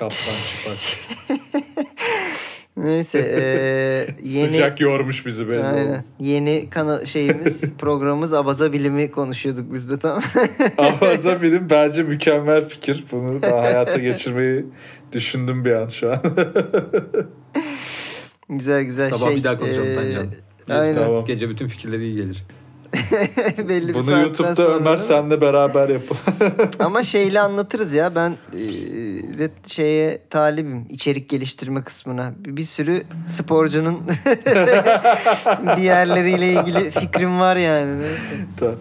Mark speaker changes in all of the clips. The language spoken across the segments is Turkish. Speaker 1: Alttan çıplak.
Speaker 2: Neyse e, yeni
Speaker 1: Sıcak yormuş bizi belli.
Speaker 2: Aynen.
Speaker 1: oldu.
Speaker 2: Yeni kana şeyimiz programımız abaza bilimi konuşuyorduk biz de tam.
Speaker 1: Abaza bilim bence mükemmel fikir. Bunu da hayata geçirmeyi düşündüm bir an şu an.
Speaker 2: güzel güzel
Speaker 3: Sabah
Speaker 2: şey.
Speaker 3: bir daha konuşalım
Speaker 2: e,
Speaker 3: bence.
Speaker 2: Aynen.
Speaker 1: tamam.
Speaker 3: Gece bütün fikirleri iyi gelir.
Speaker 2: Belli bir
Speaker 1: Bunu
Speaker 2: saatten
Speaker 1: YouTube'da
Speaker 2: sonra
Speaker 1: Ömer
Speaker 2: değil mi?
Speaker 1: senle beraber yapalım.
Speaker 2: Ama şeyle anlatırız ya ben e, de şeye talibim içerik geliştirme kısmına. Bir, bir sürü sporcunun diğerleriyle ilgili fikrim var yani. Neyse.
Speaker 1: Ta-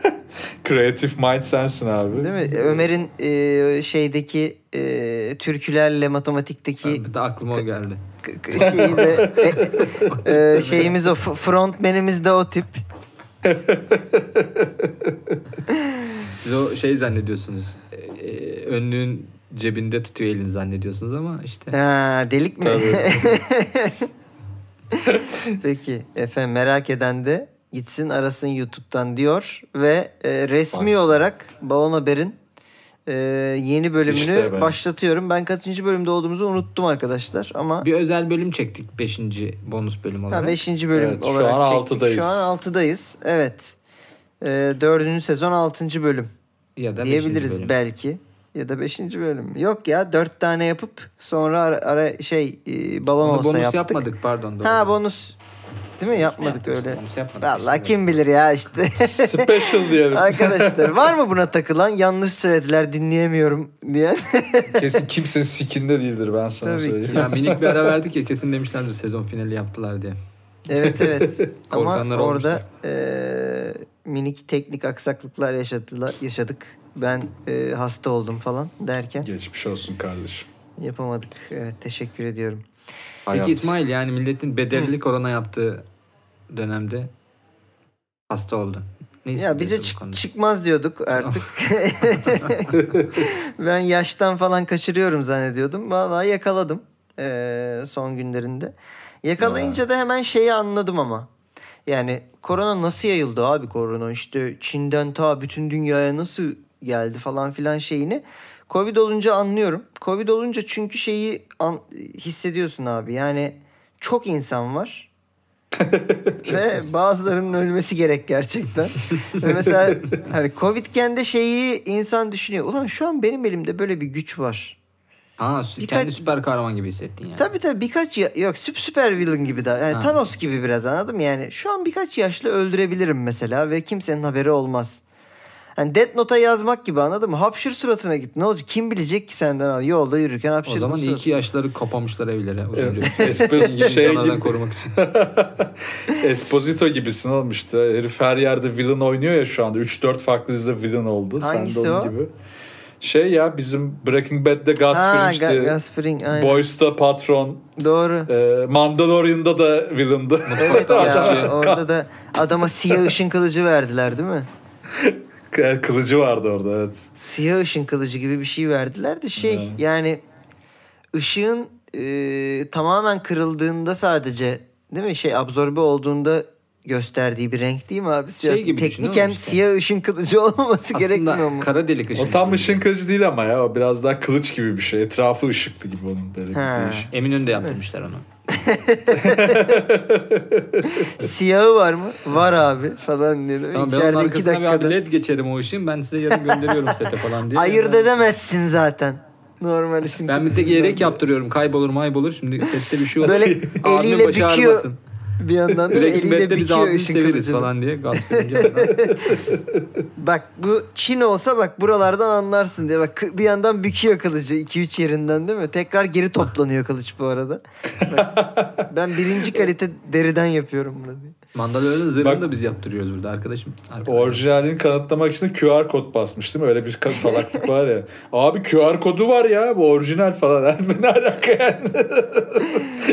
Speaker 1: Creative mind sensin abi.
Speaker 2: Değil mi? Ömer'in e, şeydeki e, türkülerle matematikteki
Speaker 3: Bir de aklıma o geldi.
Speaker 2: k- k- şeyi de- e, e, şeyimiz o f- frontmenimiz de o tip.
Speaker 3: Siz o şey zannediyorsunuz. e, e, önlüğün cebinde tutuyor elini zannediyorsunuz ama işte.
Speaker 2: Ha, delik mi?
Speaker 1: Tabii.
Speaker 2: Peki efendim merak eden de gitsin arasın YouTube'dan diyor ve e, resmi
Speaker 1: Baksın.
Speaker 2: olarak Balon Haber'in e, yeni bölümünü
Speaker 1: İşte ben.
Speaker 2: başlatıyorum. Ben kaçıncı bölümde olduğumuzu unuttum arkadaşlar ama
Speaker 3: Bir özel bölüm çektik 5. bonus bölüm olarak.
Speaker 2: ha, 5. bölüm
Speaker 1: Evet, şu
Speaker 2: olarak
Speaker 1: an
Speaker 2: çektik.
Speaker 1: altıdayız.
Speaker 2: Şu an 6'dayız. Evet. E, 4. sezon 6. bölüm
Speaker 3: ya da
Speaker 2: diyebiliriz
Speaker 3: beşinci bölüm.
Speaker 2: belki. Ya da 5. bölüm. Yok ya 4 tane yapıp sonra ara, ara şey e, balon
Speaker 3: Onu
Speaker 2: olsa
Speaker 3: bonus
Speaker 2: yaptık.
Speaker 3: yapmadık pardon. Doğru.
Speaker 2: Ha bonus değil mi
Speaker 3: Ne
Speaker 2: yapmadık
Speaker 3: yaptık işte,
Speaker 2: öyle.
Speaker 3: Bonus yapmadık.
Speaker 2: Vallahi
Speaker 3: işte.
Speaker 2: kim bilir ya işte.
Speaker 1: Special diyelim.
Speaker 2: Arkadaşlar var mı buna takılan yanlış söylediler dinleyemiyorum diye.
Speaker 1: Kesin kimsenin sikinde değildir ben sana
Speaker 2: Tabii ki.
Speaker 1: söyleyeyim.
Speaker 3: Ya minik bir ara verdik ya kesin demişlerdir sezon finali yaptılar diye.
Speaker 2: evet evet. Ama
Speaker 3: Korkanlar
Speaker 2: orada eee, minik teknik aksaklıklar yaşadılar, yaşadık. Ben eee, hasta oldum falan derken
Speaker 1: Geçmiş olsun kardeşim.
Speaker 2: yapamadık. Evet teşekkür ediyorum.
Speaker 1: Hayat.
Speaker 3: Peki İsmail yani milletin bedelli korona yaptığı dönemde hasta oldu. Ne
Speaker 2: ya bize
Speaker 3: hissediyorsun bu
Speaker 2: çık-
Speaker 3: konuda?
Speaker 2: çıkmaz diyorduk artık. ben yaştan falan kaçırıyorum zannediyordum. Vallahi yakaladım eee, son günlerinde. Yakalayınca da hemen şeyi anladım ama. Yani korona nasıl yayıldı abi korona işte Çin'den ta bütün dünyaya nasıl geldi falan filan şeyini. Covid olunca anlıyorum. Covid olunca çünkü şeyi an- hissediyorsun abi yani çok insan var. Ve bazılarının ölmesi gerek gerçekten. Ve mesela hani Covid'ken de şeyi insan düşünüyor. Ulan şu an benim elimde böyle bir güç var.
Speaker 3: Ha sü-
Speaker 2: Birkaç-
Speaker 3: kendi süper kahraman gibi hissettin yani.
Speaker 2: Tabii tabii birkaç ya- yok süp- süper villain gibi daha. Yani
Speaker 3: Ha.
Speaker 2: Thanos gibi biraz anladım yani. Şu an birkaç yaşlı öldürebilirim mesela ve kimsenin haberi olmaz. Hani Death Note'a yazmak gibi anladın mı? Hapşır suratına git. Ne olacak? Kim bilecek ki senden al? Yolda yürürken
Speaker 3: O
Speaker 2: hapşırdın
Speaker 3: zaman iyi ki
Speaker 2: suratına.
Speaker 3: yaşları kapamışlar evlere.
Speaker 1: Evet, espresso şey
Speaker 3: şey
Speaker 1: gibi,
Speaker 3: korumak için.
Speaker 1: Esposito gibisin olmuştu. Herif her yerde villain oynuyor ya şu anda. 3-4 farklı dizide villain oldu.
Speaker 2: Hangisi
Speaker 1: Sen de onun
Speaker 2: o?
Speaker 1: gibi. Şey ya bizim Breaking Bad'de Gus
Speaker 2: Ha,
Speaker 1: Fring
Speaker 2: Ga-
Speaker 1: işte.
Speaker 2: Gus Fring, aynen.
Speaker 1: Boys'ta patron.
Speaker 2: Doğru.
Speaker 1: e, Mandalorian'da da villain'dı.
Speaker 2: Evet ya orada da adama siyah ışın kılıcı verdiler değil mi?
Speaker 1: Kılıcı vardı orada evet.
Speaker 2: siyah ışın kılıcı gibi bir şey verdiler de şey yani ışığın e, tamamen kırıldığında sadece değil mi şey absorbe olduğunda gösterdiği bir renk değil mi abi? Siyah,
Speaker 3: Şey gibi düşün
Speaker 2: tekniken
Speaker 3: oğlum işte.
Speaker 2: siyah ışın kılıcı olmaması gerekmiyor
Speaker 3: Aslında şey-
Speaker 2: mu?
Speaker 3: kara delik ışın.
Speaker 1: O tam ışın kılıcı değil ama ya. O biraz daha kılıç gibi bir şey. Etrafı ışıktı gibi onun böyle. bir
Speaker 2: Ha.
Speaker 1: değişik.
Speaker 3: Eminönü'nde yaptırmışlar onu.
Speaker 2: Siyahı var mı? Var abi falan diye.
Speaker 3: Tamam, ben onun
Speaker 2: İçeride iki
Speaker 3: arkasına bir abi
Speaker 2: dakikada.
Speaker 3: led geçerim o ışın ben size yarın gönderiyorum sete falan diye.
Speaker 2: Ayırt
Speaker 3: Ben-
Speaker 2: edemezsin zaten. Normal ışın
Speaker 3: Ben bir tek
Speaker 2: kılıcından.
Speaker 3: yedek yaptırıyorum kaybolur maybolur şimdi sette bir şey olur.
Speaker 2: Böyle
Speaker 3: Abimin
Speaker 2: eliyle
Speaker 3: başı
Speaker 2: büküyor.
Speaker 3: ağrımasın.
Speaker 2: Bir yandan da
Speaker 3: Breaking
Speaker 2: eliyle
Speaker 3: Bad'de biz
Speaker 2: büküyor
Speaker 3: abimi
Speaker 2: ışın
Speaker 3: severiz
Speaker 2: kılıcını.
Speaker 3: falan diye gaz verince-
Speaker 2: Bak bu Çin olsa bak buralardan anlarsın diye. Bak kı- bir yandan büküyor kılıcı 2-3 yerinden değil mi? Tekrar geri toplanıyor kılıç bu arada. Bak, ben birinci kalite deriden yapıyorum bunu diye.
Speaker 3: Mandalorian'ın zırhını
Speaker 1: Bak-
Speaker 3: da biz yaptırıyoruz burada arkadaşım. Arkadaşım.
Speaker 1: Orijinalini kanıtlamak için QR kod basmış değil mi? Öyle bir ka- salaklık var ya. Abi QR kodu var ya bu orijinal falan. ne alaka yani?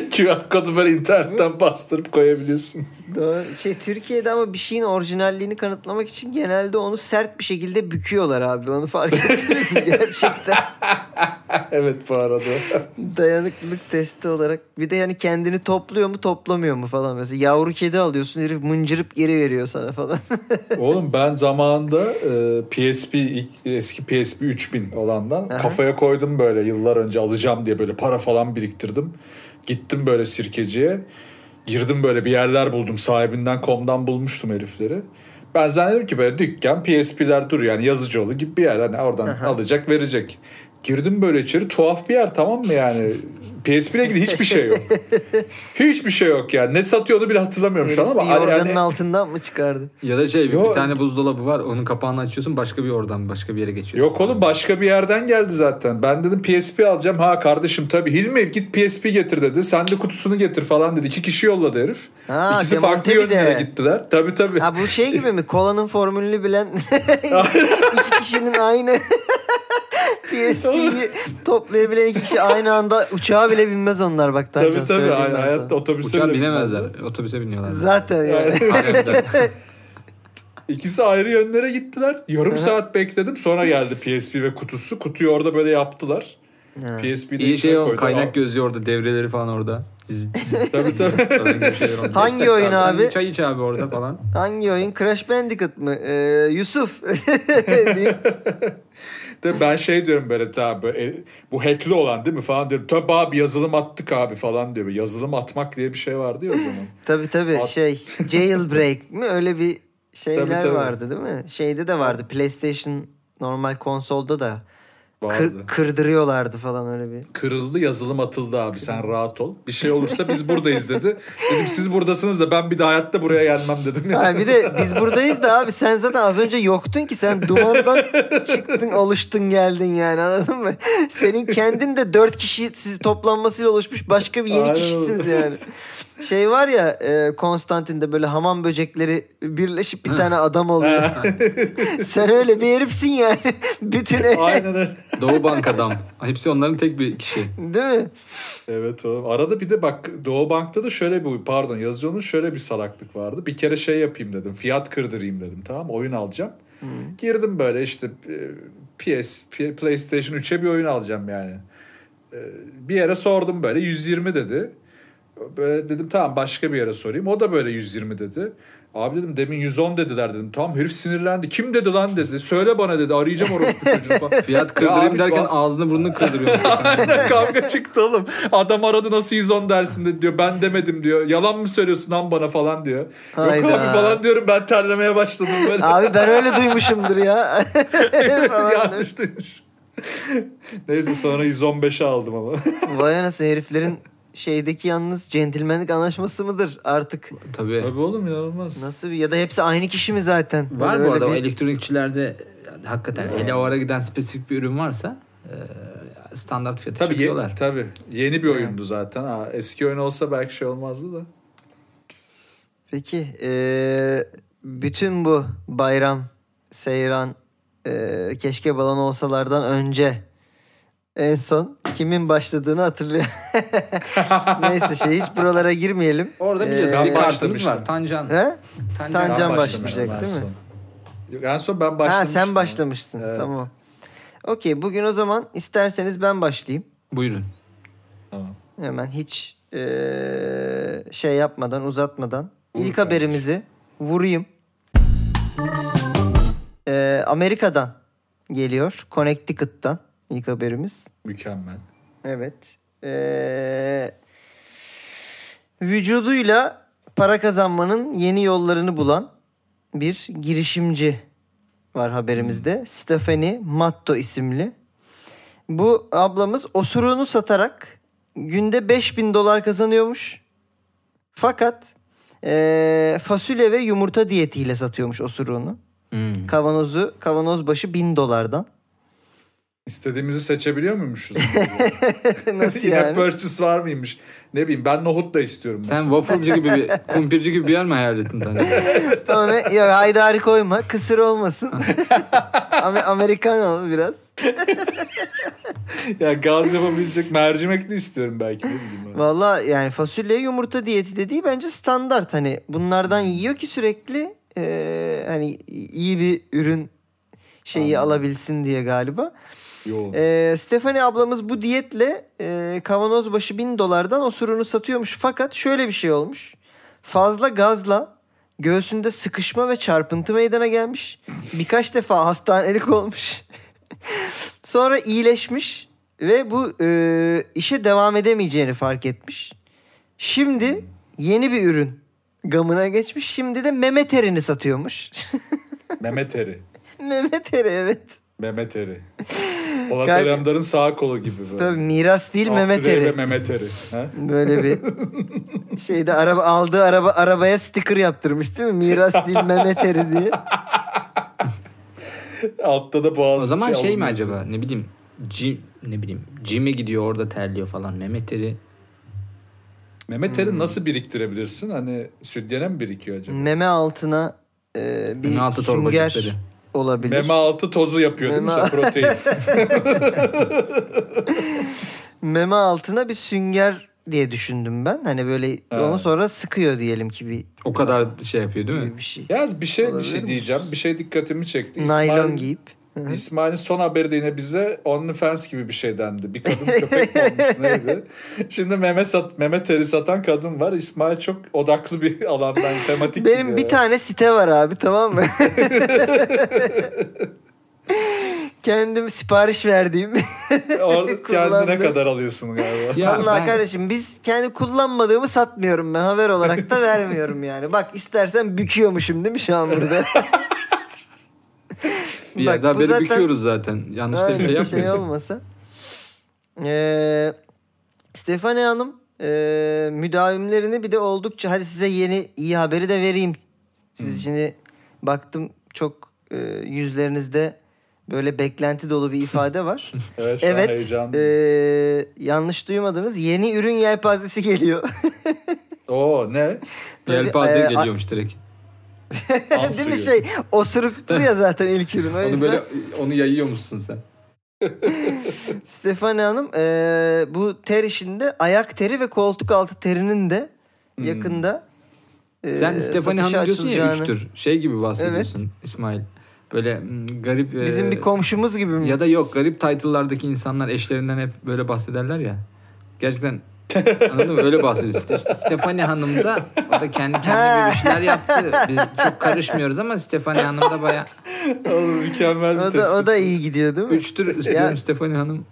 Speaker 1: QR kodu böyle internetten bastırıp koyabiliyorsun.
Speaker 2: Doğru. Şey Türkiye'de ama bir şeyin orijinalliğini kanıtlamak için genelde onu sert bir şekilde büküyorlar abi. Onu fark ettiniz mi gerçekten?
Speaker 1: evet bu arada.
Speaker 2: Dayanıklılık testi olarak. Bir de yani kendini topluyor mu toplamıyor mu falan. Mesela yavru kedi alıyorsun herif mıncırıp geri veriyor sana falan.
Speaker 1: Oğlum ben zamanında e, PSP ilk- eski PSP 3000 olandan
Speaker 2: Aha.
Speaker 1: kafaya koydum böyle yıllar önce alacağım diye böyle para falan biriktirdim. Gittim böyle sirkeciye. Girdim böyle bir yerler buldum. Sahibinden komdan bulmuştum herifleri. Ben zannediyorum ki böyle dükkan PSP'ler duruyor. Yani Yazıcıoğlu gibi bir yer. Hani oradan alacak verecek. Girdim böyle içeri tuhaf bir yer tamam mı yani? PSP ile ilgili hiçbir şey yok. hiçbir şey yok yani. Ne satıyordu bile hatırlamıyorum şu an
Speaker 2: Herif
Speaker 1: ama. hani
Speaker 2: bir yorganın
Speaker 1: yani-
Speaker 2: altından mı çıkardı?
Speaker 3: Ya da şey bir-
Speaker 1: Yo.
Speaker 3: bir tane buzdolabı var onun kapağını açıyorsun başka bir oradan başka bir yere geçiyorsun.
Speaker 1: Yok oğlum başka bir yerden geldi zaten. Ben dedim PSP alacağım. Ha kardeşim tabii Hilmi git PSP getir dedi. Sen de kutusunu getir falan dedi. İki kişi yolladı herif.
Speaker 2: Ha,
Speaker 1: İkisi
Speaker 2: Demonte
Speaker 1: farklı
Speaker 2: bir de.
Speaker 1: yönlere gittiler. Tabii tabii.
Speaker 2: Ha bu şey gibi mi? Kolanın formülünü bilen iki kişinin aynı PSP'yi toplayabilen iki kişi aynı anda uçağa bile binmez onlar bak Tancan.
Speaker 1: tabii tabii.
Speaker 2: söyleyeyim
Speaker 1: Ay-
Speaker 2: ben sana.
Speaker 1: hayatta otobüse
Speaker 3: Uçağa
Speaker 1: bile
Speaker 3: binemezler.
Speaker 1: binmezler.
Speaker 3: Otobüse biniyorlar.
Speaker 2: Zaten yani.
Speaker 1: Yani
Speaker 3: Harbiden.
Speaker 1: İkisi ayrı yönlere gittiler. Yarım saat bekledim. Sonra geldi PSP ve kutusu. Kutuyu orada böyle yaptılar.
Speaker 2: Ha.
Speaker 1: PSP'yi de
Speaker 3: İyi
Speaker 1: içine
Speaker 3: şey o
Speaker 1: koydular.
Speaker 3: kaynak gözlüyor orada devreleri falan orada. Zzz, zzz.
Speaker 1: Tabii tabii.
Speaker 3: Sonra gibi şeyler oluyor.
Speaker 2: Hangi
Speaker 3: İşte
Speaker 2: oyun
Speaker 3: sen
Speaker 2: abi?
Speaker 3: Çay iç abi orada falan.
Speaker 2: Hangi oyun? Crash Bandicoot mı? Ee, Yusuf. Diyeyim.
Speaker 1: De ben şey diyorum böyle tabi bu hackli olan değil mi falan diyorum. Tabii abi yazılım attık abi falan diyor. Yazılım atmak diye bir şey vardı ya o zaman.
Speaker 2: tabii tabii
Speaker 1: At-
Speaker 2: şey jailbreak mi? Öyle bir şeyler
Speaker 1: Tabii, tabii.
Speaker 2: vardı değil mi? Şeyde de vardı. PlayStation normal konsolda da
Speaker 1: Vardı.
Speaker 2: kır, kırdırıyorlardı falan öyle bir.
Speaker 1: Kırıldı yazılım atıldı abi sen rahat ol. Bir şey olursa biz buradayız dedi. Dedim siz buradasınız da ben bir de hayatta buraya gelmem dedim.
Speaker 2: Ha, bir de biz buradayız da abi sen zaten az önce yoktun ki sen dumandan çıktın oluştun geldin yani anladın mı? Senin kendin de dört kişi sizi toplanmasıyla oluşmuş başka bir yeni
Speaker 1: Aynen
Speaker 2: kişisiniz yani. Şey var ya e, Konstantin'de böyle hamam böcekleri birleşip bir tane adam oluyor. sen öyle bir herifsin yani. Bütün e- ev-
Speaker 1: Aynen öyle.
Speaker 3: Doğu Bank adam. Hepsi onların tek bir kişi.
Speaker 2: Değil mi?
Speaker 1: Evet oğlum. Arada bir de bak Doğu Bank'ta da şöyle bir pardon Yazıcıoğlu'nun şöyle bir salaklık vardı. Bir kere şey yapayım dedim. Fiyat kırdırayım dedim tamam oyun alacağım. Girdim böyle işte e, PS, P- PlayStation 3'e bir oyun alacağım yani. E, Bir yere sordum böyle 120 dedi. Böyle dedim tamam başka bir yere sorayım. O da böyle 120 dedi. Abi dedim demin 110 dediler dedim. Tamam herif sinirlendi. Kim dedi lan dedi. Söyle bana dedi. Arayacağım orospu çocuğu falan. Ya
Speaker 3: Fiyat kırdırayım
Speaker 1: abi,
Speaker 3: derken
Speaker 1: ba-
Speaker 3: ağzını burnunu kırdırıyor.
Speaker 1: Aynen kavga çıktı oğlum. Adam aradı nasıl 110 dersin dedi diyor. Ben demedim diyor. Yalan mı söylüyorsun lan bana falan diyor.
Speaker 2: Hayda.
Speaker 1: Yok abi falan diyorum ben terlemeye başladım böyle.
Speaker 2: Abi ben öyle duymuşumdur ya. Falan demiş.
Speaker 1: Yanlış duymuş. Neyse sonra 115'e aldım ama.
Speaker 2: Vay anasını heriflerin şeydeki yalnız centilmenlik anlaşması mıdır artık?
Speaker 3: Tabii.
Speaker 1: Tabii oğlum ya olmaz.
Speaker 2: Nasıl bir- ya da hepsi aynı kişi mi zaten?
Speaker 3: Var
Speaker 2: Böyle
Speaker 3: bu arada o
Speaker 2: bir-
Speaker 3: elektronikçilerde e, hakikaten ele o ara giden spesifik bir ürün varsa e, standart fiyatı
Speaker 1: Tabii, ye-
Speaker 3: çekiyorlar.
Speaker 1: tabii yeni bir oyundu zaten. Ha, eski oyun olsa belki şey olmazdı da.
Speaker 2: Peki eee, bütün bu bayram, seyran, eee, keşke balon olsalardan önce en son kimin başladığını hatırlıyor. Neyse şey hiç buralara girmeyelim. E,
Speaker 3: Orada biliyorsun
Speaker 1: Ee,
Speaker 3: bir kartımız
Speaker 1: başlamıştım.
Speaker 3: var. Tancan.
Speaker 2: He?
Speaker 3: Tancan,
Speaker 1: Ben
Speaker 2: Tancan
Speaker 1: başlamıştım
Speaker 2: başlayacak,
Speaker 1: en
Speaker 2: değil mi?
Speaker 1: son. Yok, En son ben
Speaker 2: Ha
Speaker 1: başlamıştım.
Speaker 2: sen başlamıştın.
Speaker 1: Evet.
Speaker 2: Tamam. Okey bugün o zaman isterseniz ben başlayayım.
Speaker 3: Buyurun.
Speaker 1: Tamam.
Speaker 2: Hemen hiç eee, şey yapmadan uzatmadan
Speaker 1: Vur
Speaker 2: ilk
Speaker 1: kardeşim.
Speaker 2: haberimizi vurayım. Eee, Amerika'dan geliyor. Connecticut'tan ilk haberimiz.
Speaker 1: Mükemmel.
Speaker 2: Evet. Eee, vücuduyla para kazanmanın yeni yollarını bulan bir girişimci var haberimizde. Stephanie Matto isimli. Bu ablamız osuruğunu satarak günde 5000 dolar kazanıyormuş. Fakat eee, fasulye ve yumurta diyetiyle satıyormuş osuruğunu. Kavanozu, kavanoz başı 1000 dolardan.
Speaker 1: İstediğimizi seçebiliyor muymuşuz?
Speaker 2: Nasıl
Speaker 1: Yine
Speaker 2: yani?
Speaker 1: purchase var mıymış? Ne bileyim ben nohut da istiyorum.
Speaker 3: Sen
Speaker 1: mesela.
Speaker 3: wafflecı gibi bir, kumpirci gibi bir yer mi hayal ettin Taner?
Speaker 2: Sonra ya haydari koyma. Kısır olmasın. Amer- Amerikan ol biraz.
Speaker 1: ya gaz yapabilecek mercimekli istiyorum belki. Ne bileyim. ben.
Speaker 2: Valla yani fasulye yumurta diyeti dediği bence standart. Hani bunlardan yiyor ki sürekli e, hani iyi bir ürün şeyi
Speaker 1: Anladım.
Speaker 2: alabilsin diye galiba.
Speaker 1: Yoğun.
Speaker 2: E, Stephanie ablamız bu diyetle e, kavanoz başı bin dolardan osurunu satıyormuş. Fakat şöyle bir şey olmuş. Fazla gazla göğsünde sıkışma ve çarpıntı meydana gelmiş. Birkaç defa hastanelik olmuş. Sonra iyileşmiş ve bu e, işe devam edemeyeceğini fark etmiş. Şimdi yeni bir ürün gamına geçmiş. Şimdi de meme terini satıyormuş.
Speaker 1: Mehmet Eri.
Speaker 2: meme teri evet.
Speaker 1: Mehmet Eri. Polat
Speaker 2: Galiba-
Speaker 1: Alemdar'ın sağ kolu gibi böyle.
Speaker 2: Tabii miras değil meme
Speaker 1: Abdüley ve
Speaker 2: teri.
Speaker 1: Mehmet Eri. Ha?
Speaker 2: Böyle bir şeyde araba aldığı araba arabaya sticker yaptırmış değil mi? Miras değil meme teri diye.
Speaker 1: Altta da boğaz.
Speaker 3: O zaman şey mi
Speaker 1: alınıyor.
Speaker 3: acaba ne bileyim Jim ne bileyim Jim'e gidiyor orada terliyor falan Mehmet Eri.
Speaker 1: Mehmet
Speaker 3: Hmm.
Speaker 1: Eri nasıl biriktirebilirsin? Hani sütyene mi birikiyor acaba?
Speaker 2: Meme altına e, bir
Speaker 3: Meme altı
Speaker 2: sünger
Speaker 3: torbacıkları.
Speaker 2: olabilir.
Speaker 1: Meme altı tozu yapıyor değil mi?
Speaker 2: Meme-
Speaker 1: Sen Protein.
Speaker 2: meme altına bir sünger diye düşündüm ben. Hani böyle onu sonra sıkıyor diyelim ki bir,
Speaker 3: O kadar şey yapıyor değil mi?
Speaker 2: bir şey.
Speaker 1: Yaz bir şey, bir
Speaker 2: Olabilir
Speaker 1: şey
Speaker 2: mi?
Speaker 1: diyeceğim. Bir şey dikkatimi çekti.
Speaker 2: Naylon
Speaker 1: İsmail-
Speaker 2: giyip. Hı.
Speaker 1: İsmail'in son haberi de yine bize OnlyFans gibi bir şey dendi. Bir kadın köpek mi olmuş neydi? Şimdi meme, sat, meme teri satan kadın var. İsmail çok odaklı bir alandan tematik
Speaker 2: Benim bir
Speaker 1: gidiyor.
Speaker 2: tane site var abi tamam mı? Kendim sipariş verdiğim.
Speaker 1: Orada kendine
Speaker 2: kullandı.
Speaker 1: kadar alıyorsun galiba.
Speaker 3: Ya
Speaker 2: Allah
Speaker 3: ben-
Speaker 2: kardeşim biz kendi kullanmadığımı satmıyorum ben. Haber olarak da vermiyorum yani. Bak istersen büküyormuşum değil mi şu an burada?
Speaker 3: Bir
Speaker 2: Bak,
Speaker 3: yerde
Speaker 2: bu
Speaker 3: haberi
Speaker 2: zaten-
Speaker 3: büküyoruz zaten. Yanlış da bir şey
Speaker 2: Aynen,
Speaker 3: yapmıyoruz.
Speaker 2: olmasa. Ee, Stefania Hanım e, müdavimlerini bir de oldukça hadi size yeni iyi haberi de vereyim.
Speaker 3: Hmm.
Speaker 2: Siz şimdi baktım çok e, yüzlerinizde böyle beklenti dolu bir ifade var.
Speaker 1: Evet, şu an
Speaker 2: evet.
Speaker 1: heyecanlı.
Speaker 2: e, yanlış duymadınız. Yeni ürün yelpazesi geliyor. e,
Speaker 1: Oo ne?
Speaker 2: Böyle,
Speaker 3: Yelpaze
Speaker 2: e,
Speaker 3: geliyormuş direkt.
Speaker 1: Ham
Speaker 2: Değil mi
Speaker 1: suyu.
Speaker 2: şey? Osuruktu ya zaten ilk ürün. O
Speaker 3: Onu
Speaker 2: yüzden-
Speaker 3: böyle onu yayıyor musun sen?
Speaker 2: Stefani Hanım eee, bu ter işinde ayak teri ve koltuk altı terinin de yakında eee,
Speaker 3: Hmm. Sen Stefani
Speaker 2: satışa
Speaker 3: Hanım diyorsun ya
Speaker 2: e, açılacağını-
Speaker 3: üçtür. Şey gibi bahsediyorsun İsmail. Böyle mm, garip e,
Speaker 2: Bizim bir komşumuz gibi mi?
Speaker 3: ya da yok garip title'lardaki insanlar eşlerinden hep böyle bahsederler ya. Gerçekten anladın mı? Öyle bahsediyorsun. İşte, işte Stefani Hanım da o da kendi kendine bir şeyler yaptı. Biz çok karışmıyoruz ama Stefani Hanım da baya
Speaker 1: Oğlum, mükemmel bir
Speaker 2: o
Speaker 1: tespit.
Speaker 2: da, o da iyi gidiyor değil mi?
Speaker 3: üçtür istiyorum Stefani Hanım.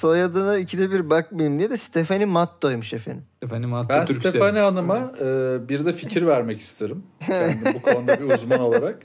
Speaker 2: Soyadına ikide bir bakmayayım diye de Stefani Matto'ymuş efendim.
Speaker 3: Stefani
Speaker 1: Ben
Speaker 3: Atatürk
Speaker 1: Stefani Hanım'a e, bir de fikir vermek isterim. Kendim bu konuda bir uzman olarak.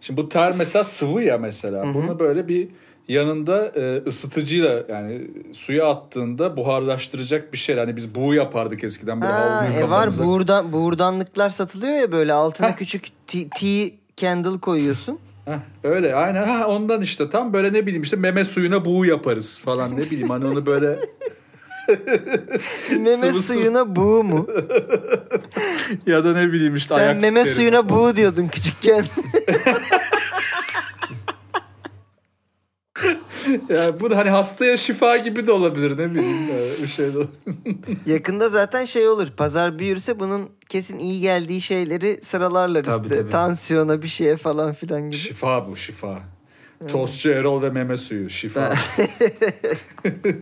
Speaker 1: Şimdi bu ter mesela sıvı ya mesela. Bunu böyle bir yanında e, ısıtıcıyla yani suya attığında buharlaştıracak bir şey. Hani biz buğu yapardık eskiden. Böyle
Speaker 2: Ha,
Speaker 1: havluyu
Speaker 2: e var
Speaker 1: kafamıza-
Speaker 2: buğurdan, buğurdanlıklar satılıyor ya böyle altına
Speaker 1: Heh.
Speaker 2: küçük tea, tea candle koyuyorsun.
Speaker 1: Heh, öyle aynen. Ha, ondan işte tam böyle ne bileyim işte meme suyuna buğu yaparız falan ne bileyim. Hani onu böyle
Speaker 2: Meme
Speaker 1: Sıvı su.
Speaker 2: suyuna buğu mu?
Speaker 1: ya da ne bileyim işte
Speaker 2: Sen
Speaker 1: ayak
Speaker 2: meme
Speaker 1: sütleri.
Speaker 2: suyuna buğu diyordun küçükken.
Speaker 1: Yani bu da hani hastaya şifa gibi de olabilir ne bileyim. e, Bir şey de olabilir.
Speaker 2: Yakında zaten şey olur. Pazar büyürse bunun kesin iyi geldiği şeyleri sıralarlar
Speaker 3: Tabii,
Speaker 2: işte.
Speaker 3: tabii.
Speaker 2: Tansiyona bir şeye falan filan gibi.
Speaker 1: Şifa bu şifa. Tostçu Erol ve meme suyu şifa.
Speaker 3: Ben-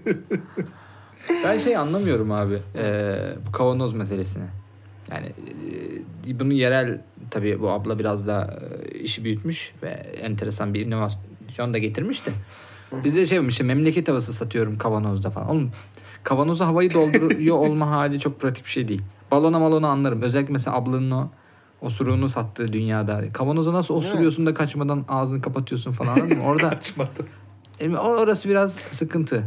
Speaker 3: Ben şey anlamıyorum abi eee, bu kavanoz meselesini. Yani eee, bunu yerel tabii bu abla biraz da işi büyütmüş ve enteresan bir inovasyon da getirmiş de. Bizde şey olmuş işte memleket havası satıyorum kavanozda falan. Oğlum kavanoza havayı dolduruyor olma hali çok pratik bir şey değil. Balona malona anlarım. Özellikle mesela ablanın o osuruğunu sattığı dünyada. Kavanoza nasıl osuruyorsun da kaçmadan ağzını kapatıyorsun falan. anladın mı? Orada
Speaker 1: Açmadım.
Speaker 3: e, orası biraz sıkıntı.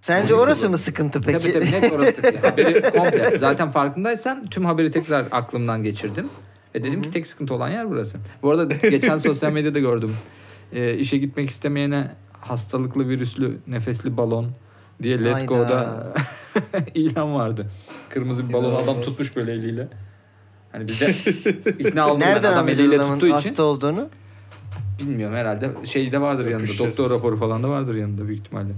Speaker 2: Sence orası mı sıkıntı peki?
Speaker 3: Tabii tabii net orası. haberi komple. Zaten farkındaysan tüm haberi tekrar aklımdan geçirdim. Ve dedim ki tek sıkıntı olan yer burası. Bu arada geçen sosyal medyada gördüm. Ee, işe E, gitmek istemeyene hastalıklı virüslü nefesli balon diye Let
Speaker 2: Hayda.
Speaker 3: Go'da ilan vardı. Kırmızı bir balon adam
Speaker 1: İnanılmaz.
Speaker 3: tutmuş böyle eliyle. Hani bize ikna olmuyor.
Speaker 2: Nereden
Speaker 3: adam
Speaker 2: anlayacağız
Speaker 3: eliyle
Speaker 2: adamın
Speaker 3: tuttuğu
Speaker 2: hasta
Speaker 3: için.
Speaker 2: olduğunu?
Speaker 3: Bilmiyorum herhalde şey de vardır yanında.
Speaker 1: Öpüşeceğiz.
Speaker 3: Doktor raporu falan da vardır yanında büyük ihtimalle.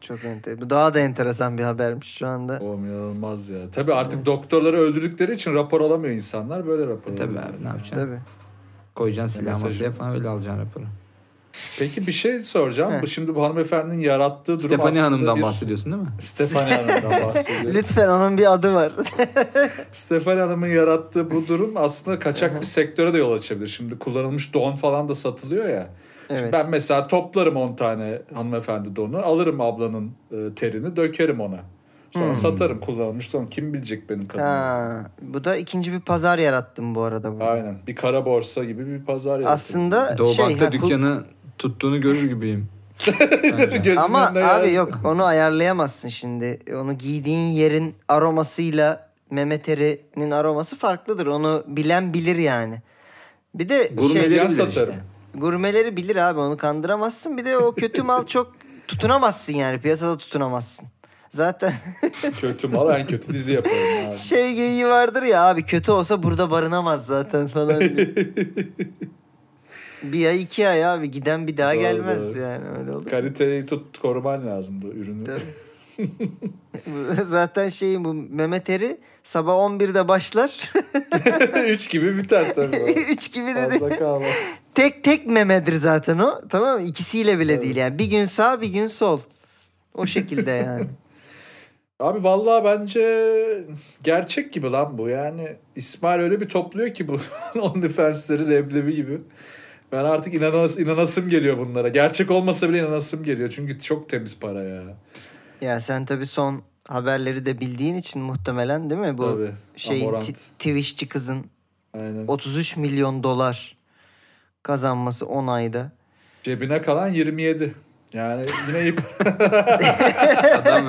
Speaker 2: Çok enter. Bu daha da enteresan bir habermiş şu anda.
Speaker 1: Oğlum inanılmaz ya. Tabii artık doktorları öldürdükleri için rapor alamıyor insanlar. Böyle rapor
Speaker 3: E, Tabii
Speaker 1: alıyorlar.
Speaker 3: abi ne yapacaksın?
Speaker 2: Tabii.
Speaker 3: Koyacaksın
Speaker 1: Ya
Speaker 3: silah
Speaker 1: mesajı-
Speaker 3: masaya falan öyle alacaksın raporu.
Speaker 1: Peki bir şey soracağım.
Speaker 2: Heh.
Speaker 1: Bu şimdi bu hanımefendinin yarattığı durum
Speaker 3: Stefani
Speaker 1: aslında
Speaker 3: Hanım'dan
Speaker 1: bir...
Speaker 3: bahsediyorsun değil mi?
Speaker 1: Stefani Hanım'dan bahsediyorum.
Speaker 2: Lütfen onun bir adı var.
Speaker 1: Stefani Hanım'ın yarattığı bu durum aslında kaçak bir sektöre de yol açabilir. Şimdi kullanılmış don falan da satılıyor ya. Şimdi
Speaker 2: evet.
Speaker 1: Ben mesela toplarım 10 tane hanımefendi donu. Alırım ablanın e, terini dökerim ona. Sonra
Speaker 3: Hmm.
Speaker 1: satarım kullanılmış don. Kim bilecek benim kadınımı?
Speaker 2: Ha, bu da ikinci bir pazar yarattım bu arada. Bu.
Speaker 1: Aynen. Bir kara borsa gibi bir pazar yaratıldı.
Speaker 2: Aslında
Speaker 3: Doğu
Speaker 2: şey
Speaker 3: Bank'ta
Speaker 2: ha, kul-
Speaker 3: dükkanı tuttuğunu görür gibiyim. Bence.
Speaker 1: Gözünün
Speaker 2: ama
Speaker 1: önünde yer-
Speaker 2: abi yok onu ayarlayamazsın şimdi. Onu giydiğin yerin aromasıyla meme terinin aroması farklıdır. Onu bilen bilir yani. Bir de
Speaker 3: Gurmeleri
Speaker 2: şey,
Speaker 1: Yan
Speaker 3: bilir
Speaker 1: satarım.
Speaker 3: işte.
Speaker 2: gurmeleri bilir abi onu kandıramazsın. Bir de o kötü mal çok tutunamazsın yani piyasada tutunamazsın. Zaten
Speaker 1: Kötü mal en kötü dizi yaparım abi.
Speaker 2: şey geyiği vardır ya abi kötü olsa burada barınamaz zaten falan. diye. bir ay iki ay abi giden bir daha
Speaker 1: Doğru,
Speaker 2: gelmez
Speaker 1: doğru.
Speaker 2: yani öyle olur.
Speaker 1: Kaliteyi tut koruman lazım bu ürünü.
Speaker 2: Tabii. Zaten şeyin bu Mehmet Eri sabah 11'de başlar.
Speaker 1: Üç gibi biter tabii.
Speaker 2: 3 gibi dedi.
Speaker 1: Fazla kalmaz.
Speaker 2: Tek tek memedir zaten o. Tamam mı? İkisiyle bile
Speaker 1: Evet.
Speaker 2: değil yani. Bir gün sağ bir gün sol. O şekilde yani.
Speaker 1: Abi vallahi bence gerçek gibi lan bu. Yani İsmail öyle bir topluyor ki bu OnlyFans'leri leblebi gibi. Ben artık inanas, inanasım geliyor bunlara. Gerçek olmasa bile inanasım geliyor. Çünkü çok temiz para ya.
Speaker 2: ya sen tabii son haberleri de bildiğin için muhtemelen değil mi? Bu
Speaker 1: Tabii.
Speaker 2: şeyin
Speaker 1: Amorant.
Speaker 2: ti- Twitch'çi kızın
Speaker 1: Aynen.
Speaker 2: 33 milyon dolar kazanması 10 ayda.
Speaker 1: Cebine kalan 27. Yani yine iyi.
Speaker 3: Adam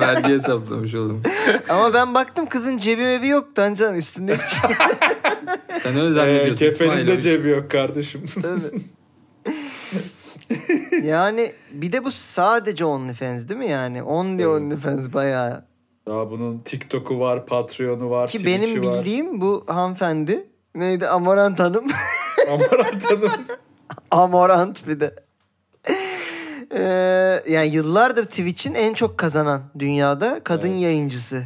Speaker 3: vergi hesaplamış oğlum.
Speaker 2: Ama ben baktım kızın cebi mebi yok Tancan üstünde hiçbir şey
Speaker 3: Sen öyle
Speaker 1: ee,
Speaker 3: zannediyorsun.
Speaker 1: kefenin de
Speaker 3: İsmail.
Speaker 1: cebi yok kardeşim.
Speaker 2: Tabii. yani bir de bu sadece OnlyFans değil mi yani? Only
Speaker 1: Evet.
Speaker 2: OnlyFans bayağı.
Speaker 1: Daha bunun TikTok'u var, Patreon'u var,
Speaker 2: Ki
Speaker 1: Twitch'i
Speaker 2: benim
Speaker 1: var.
Speaker 2: bildiğim bu hanımefendi neydi? Amorant Hanım.
Speaker 1: Amorant Hanım.
Speaker 2: Amorant bir de. Ee, yani yıllardır Twitch'in en çok kazanan dünyada kadın
Speaker 1: Evet.
Speaker 2: yayıncısı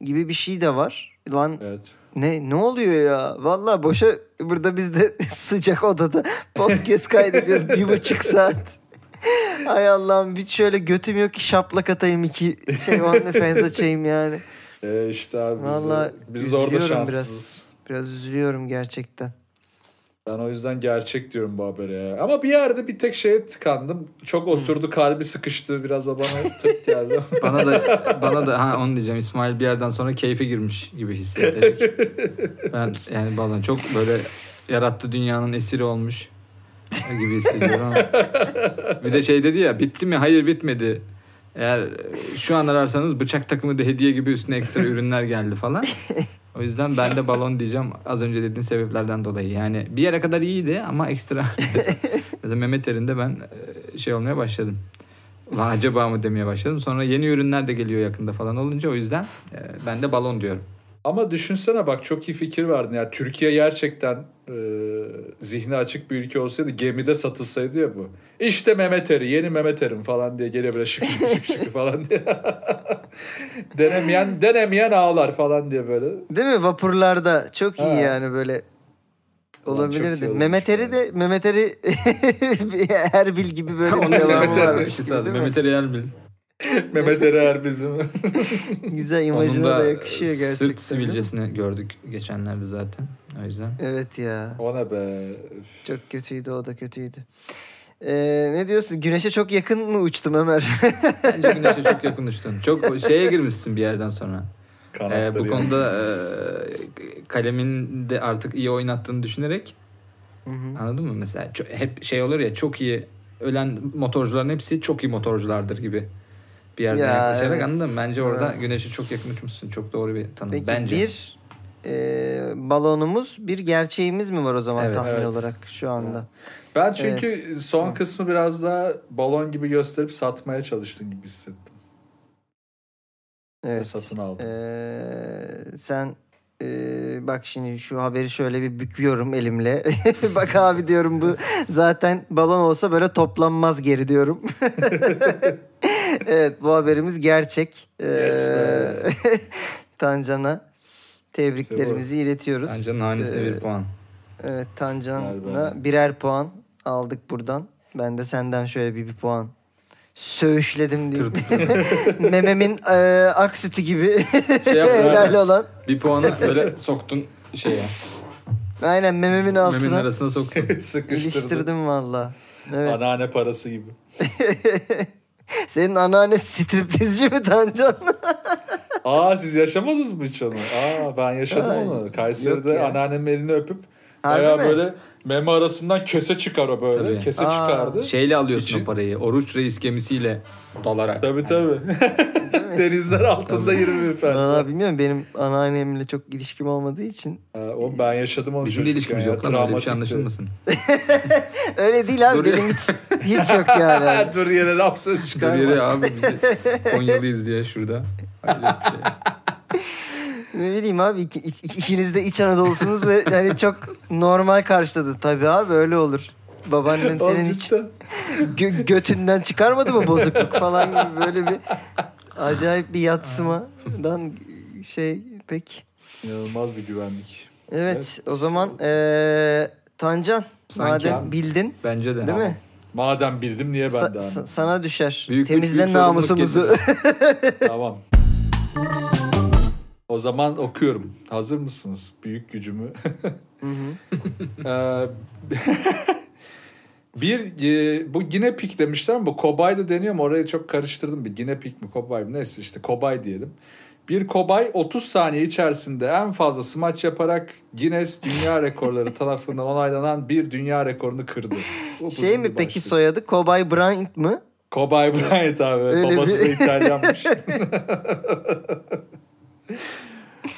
Speaker 2: gibi bir şey de var. Lan
Speaker 1: Evet.
Speaker 2: ne ne oluyor ya? Vallahi boşa burada biz de sıcak odada podcast kaydediyoruz bir buçuk saat. Ay Allah'ım bir şöyle götüm yok ki şaplak atayım iki şey OnlyFans açayım yani.
Speaker 1: Ee, işte abi biz
Speaker 2: Vallahi
Speaker 1: de, biz de orada
Speaker 2: üzülüyorum
Speaker 1: şanssızız.
Speaker 2: Biraz üzülüyorum gerçekten.
Speaker 1: Ben o yüzden gerçek diyorum bu habere ya. Ama bir yerde bir tek şeye tıkandım. Çok osurdu, kalbi sıkıştı. Biraz da bana tık geldi.
Speaker 3: Bana da bana da ha onu diyeceğim. İsmail bir yerden sonra keyfe girmiş gibi hissettik. Ben yani bazen çok böyle yarattı dünyanın esiri olmuş gibi hissediyorum ama. Bir de şey dedi ya bitti mi? Hayır bitmedi. Eğer e, şu an ararsanız bıçak takımı da hediye gibi üstüne ekstra ürünler geldi falan. O yüzden ben de balon diyeceğim az önce dediğin sebeplerden dolayı. Yani bir yere kadar iyiydi ama ekstra. Mesela Mehmet Erin'de ben e, şey olmaya başladım. Lan acaba mı demeye başladım. Sonra yeni ürünler de geliyor yakında falan olunca o yüzden e, ben de balon diyorum.
Speaker 1: Ama düşünsene bak çok iyi fikir verdin. ya. Türkiye gerçekten e, zihni açık bir ülke olsaydı gemide satılsaydı ya bu. İşte Mehmet Eri, yeni Mehmet Erim falan diye geliyor böyle şık şık şık şık falan diye. denemeyen, denemeyen ağlar falan diye böyle.
Speaker 2: Değil mi? Vapurlarda çok iyi
Speaker 1: Ha.
Speaker 2: yani böyle
Speaker 1: Ulan çok iyi
Speaker 2: olabilirdi.
Speaker 1: olmuş
Speaker 2: Mehmet
Speaker 1: yani.
Speaker 2: Eri de Mehmet Eri bir Erbil gibi böyle bir
Speaker 3: Onun
Speaker 2: devamı
Speaker 3: Mehmet Eren
Speaker 2: varmış
Speaker 3: ilişkisi
Speaker 2: gibi,
Speaker 3: adı.
Speaker 2: değil mi?
Speaker 3: Mehmet Eren Erbil.
Speaker 1: Mehmet Eri Erbil'in.
Speaker 2: Güzel
Speaker 3: Onun
Speaker 2: imajına da,
Speaker 3: da
Speaker 2: yakışıyor gerçekten.
Speaker 3: sırt
Speaker 2: değil mi?
Speaker 3: sivilcesini gördük geçenlerde zaten. O yüzden.
Speaker 2: Evet ya.
Speaker 1: o ne be.
Speaker 2: Çok kötüydü o da kötüydü. Ee, ne diyorsun? Güneşe çok yakın mı uçtum Ömer?
Speaker 3: Bence güneşe çok yakın uçtun. Çok şeye girmişsin bir yerden sonra.
Speaker 1: Kanatları
Speaker 3: E, bu
Speaker 1: yani.
Speaker 3: konuda e, kalemin de artık iyi oynattığını düşünerek
Speaker 2: Hı hı.
Speaker 3: Anladın mı? Mesela ço- hep şey olur ya çok iyi ölen motorcuların hepsi çok iyi motorculardır gibi bir yerden
Speaker 2: Ya,
Speaker 3: yaklaşarak
Speaker 2: evet.
Speaker 3: anladın mı? Bence orada
Speaker 2: Evet.
Speaker 3: güneşi çok yakın uçmuşsun. Çok doğru bir tanım.
Speaker 2: Peki
Speaker 3: Bence.
Speaker 2: bir e, balonumuz bir gerçeğimiz mi var o zaman
Speaker 3: Evet.
Speaker 2: tahmin
Speaker 1: Evet.
Speaker 2: olarak şu anda?
Speaker 1: Ben çünkü son kısmı biraz daha balon gibi gösterip satmaya çalıştın gibi hissettim. Ve
Speaker 2: Evet.
Speaker 1: satın aldım.
Speaker 2: Ee, sen e, bak şimdi şu haberi şöyle bir büküyorum elimle. bak abi diyorum bu zaten balon olsa böyle toplanmaz geri diyorum. evet bu haberimiz gerçek. Ee,
Speaker 1: Yes be.
Speaker 2: Tancan'a tebriklerimizi iletiyoruz.
Speaker 3: Bence nanesine
Speaker 2: Ee,
Speaker 3: bir puan.
Speaker 2: Evet
Speaker 1: Ver
Speaker 2: Tancan'a birer puan aldık buradan. Ben de senden şöyle bir, bir puan söğüşledim diyeyim. Mememin e, ak sütü gibi
Speaker 3: Şey
Speaker 2: helal
Speaker 3: yaptın,
Speaker 2: olan.
Speaker 3: bir puanı böyle soktun şeye.
Speaker 2: Aynen mememin
Speaker 3: Memenin
Speaker 2: altına
Speaker 3: arasına soktun.
Speaker 1: Sıkıştırdım.
Speaker 2: iliştirdim valla. Evet.
Speaker 1: Anneanne parası gibi.
Speaker 2: Senin anneanne striptizci mi Tancan?
Speaker 1: Aa siz yaşamadınız mı hiç onu? Aa ben yaşadım
Speaker 2: Ay,
Speaker 1: onu.
Speaker 2: yok
Speaker 1: Kayseri'de
Speaker 2: ya.
Speaker 1: anneannemin elini öpüp
Speaker 2: Harbi
Speaker 1: bayağı
Speaker 2: mi?
Speaker 1: böyle meme arasından köse çıkar o böyle.
Speaker 3: Tabii. Şey-
Speaker 1: Kese
Speaker 2: Aa.
Speaker 1: çıkardı.
Speaker 3: Şeyle alıyorsun
Speaker 1: İçi-
Speaker 3: o parayı. Oruç Reis gemisiyle dalarak.
Speaker 1: Tabii tabii. Denizler altında 20
Speaker 2: Valla
Speaker 1: fersen.
Speaker 2: bilmiyorum benim anneannemle çok ilişkim olmadığı için.
Speaker 1: Oğlum ben yaşadım onu
Speaker 3: Bizim de
Speaker 1: çocukken
Speaker 3: ilişkimiz
Speaker 1: ya,
Speaker 3: yok lan. Öyle bir şey
Speaker 1: travmatikti.
Speaker 3: anlaşılmasın.
Speaker 2: Öyle değil abi
Speaker 3: Dur ya.
Speaker 2: benim hiç, hiç yok yani.
Speaker 1: Dur yine laf söz
Speaker 3: Dur yere
Speaker 1: çıkarma.
Speaker 3: abi bizi Konyalıyız diye şurada. Öyle bir şey.
Speaker 2: Ne bileyim abi iki- iki- ikiniz de iç Anadolu'sunuz ve yani çok normal karşıladı. Tabii abi öyle olur. Babaannen
Speaker 1: Oğlum
Speaker 2: senin hiç
Speaker 1: cidden.
Speaker 2: gö- götünden çıkarmadı mı bozukluk falan gibi böyle bir acayip bir yatsımadan şey pek.
Speaker 1: İnanılmaz bir güvenlik.
Speaker 2: Evet,
Speaker 1: Evet.
Speaker 2: o zaman eee, Tancan
Speaker 3: Sanki
Speaker 2: madem
Speaker 3: abi.
Speaker 2: bildin
Speaker 3: Bence de.
Speaker 2: değil mi?
Speaker 1: Madem bildim niye ben
Speaker 2: Sa-
Speaker 1: de
Speaker 2: sa-
Speaker 1: anladım.
Speaker 2: sana düşer.
Speaker 3: Büyük-
Speaker 2: Temizle
Speaker 3: büyük sorumluluk
Speaker 2: namusumuzu.
Speaker 1: Tamam. O zaman okuyorum. Hazır mısınız? Büyük gücümü. Ee, bir e, bu Guinea Pig demişler ama bu kobay da deniyor mu? Orayı çok karıştırdım. Bir Guinea Pig mi kobay mı? Neyse işte kobay diyelim. Bir kobay 30 saniye içerisinde en fazla smaç yaparak Guinness Dünya Rekorları tarafından onaylanan bir dünya rekorunu kırdı. Upuzun
Speaker 2: şey mi
Speaker 1: bir
Speaker 2: peki
Speaker 1: başlık.
Speaker 2: soyadı? Kobay Bryant mı?
Speaker 1: Kobay Bryant abi.
Speaker 2: Öyle
Speaker 1: Babası
Speaker 2: bir-
Speaker 1: da İtalyanmış.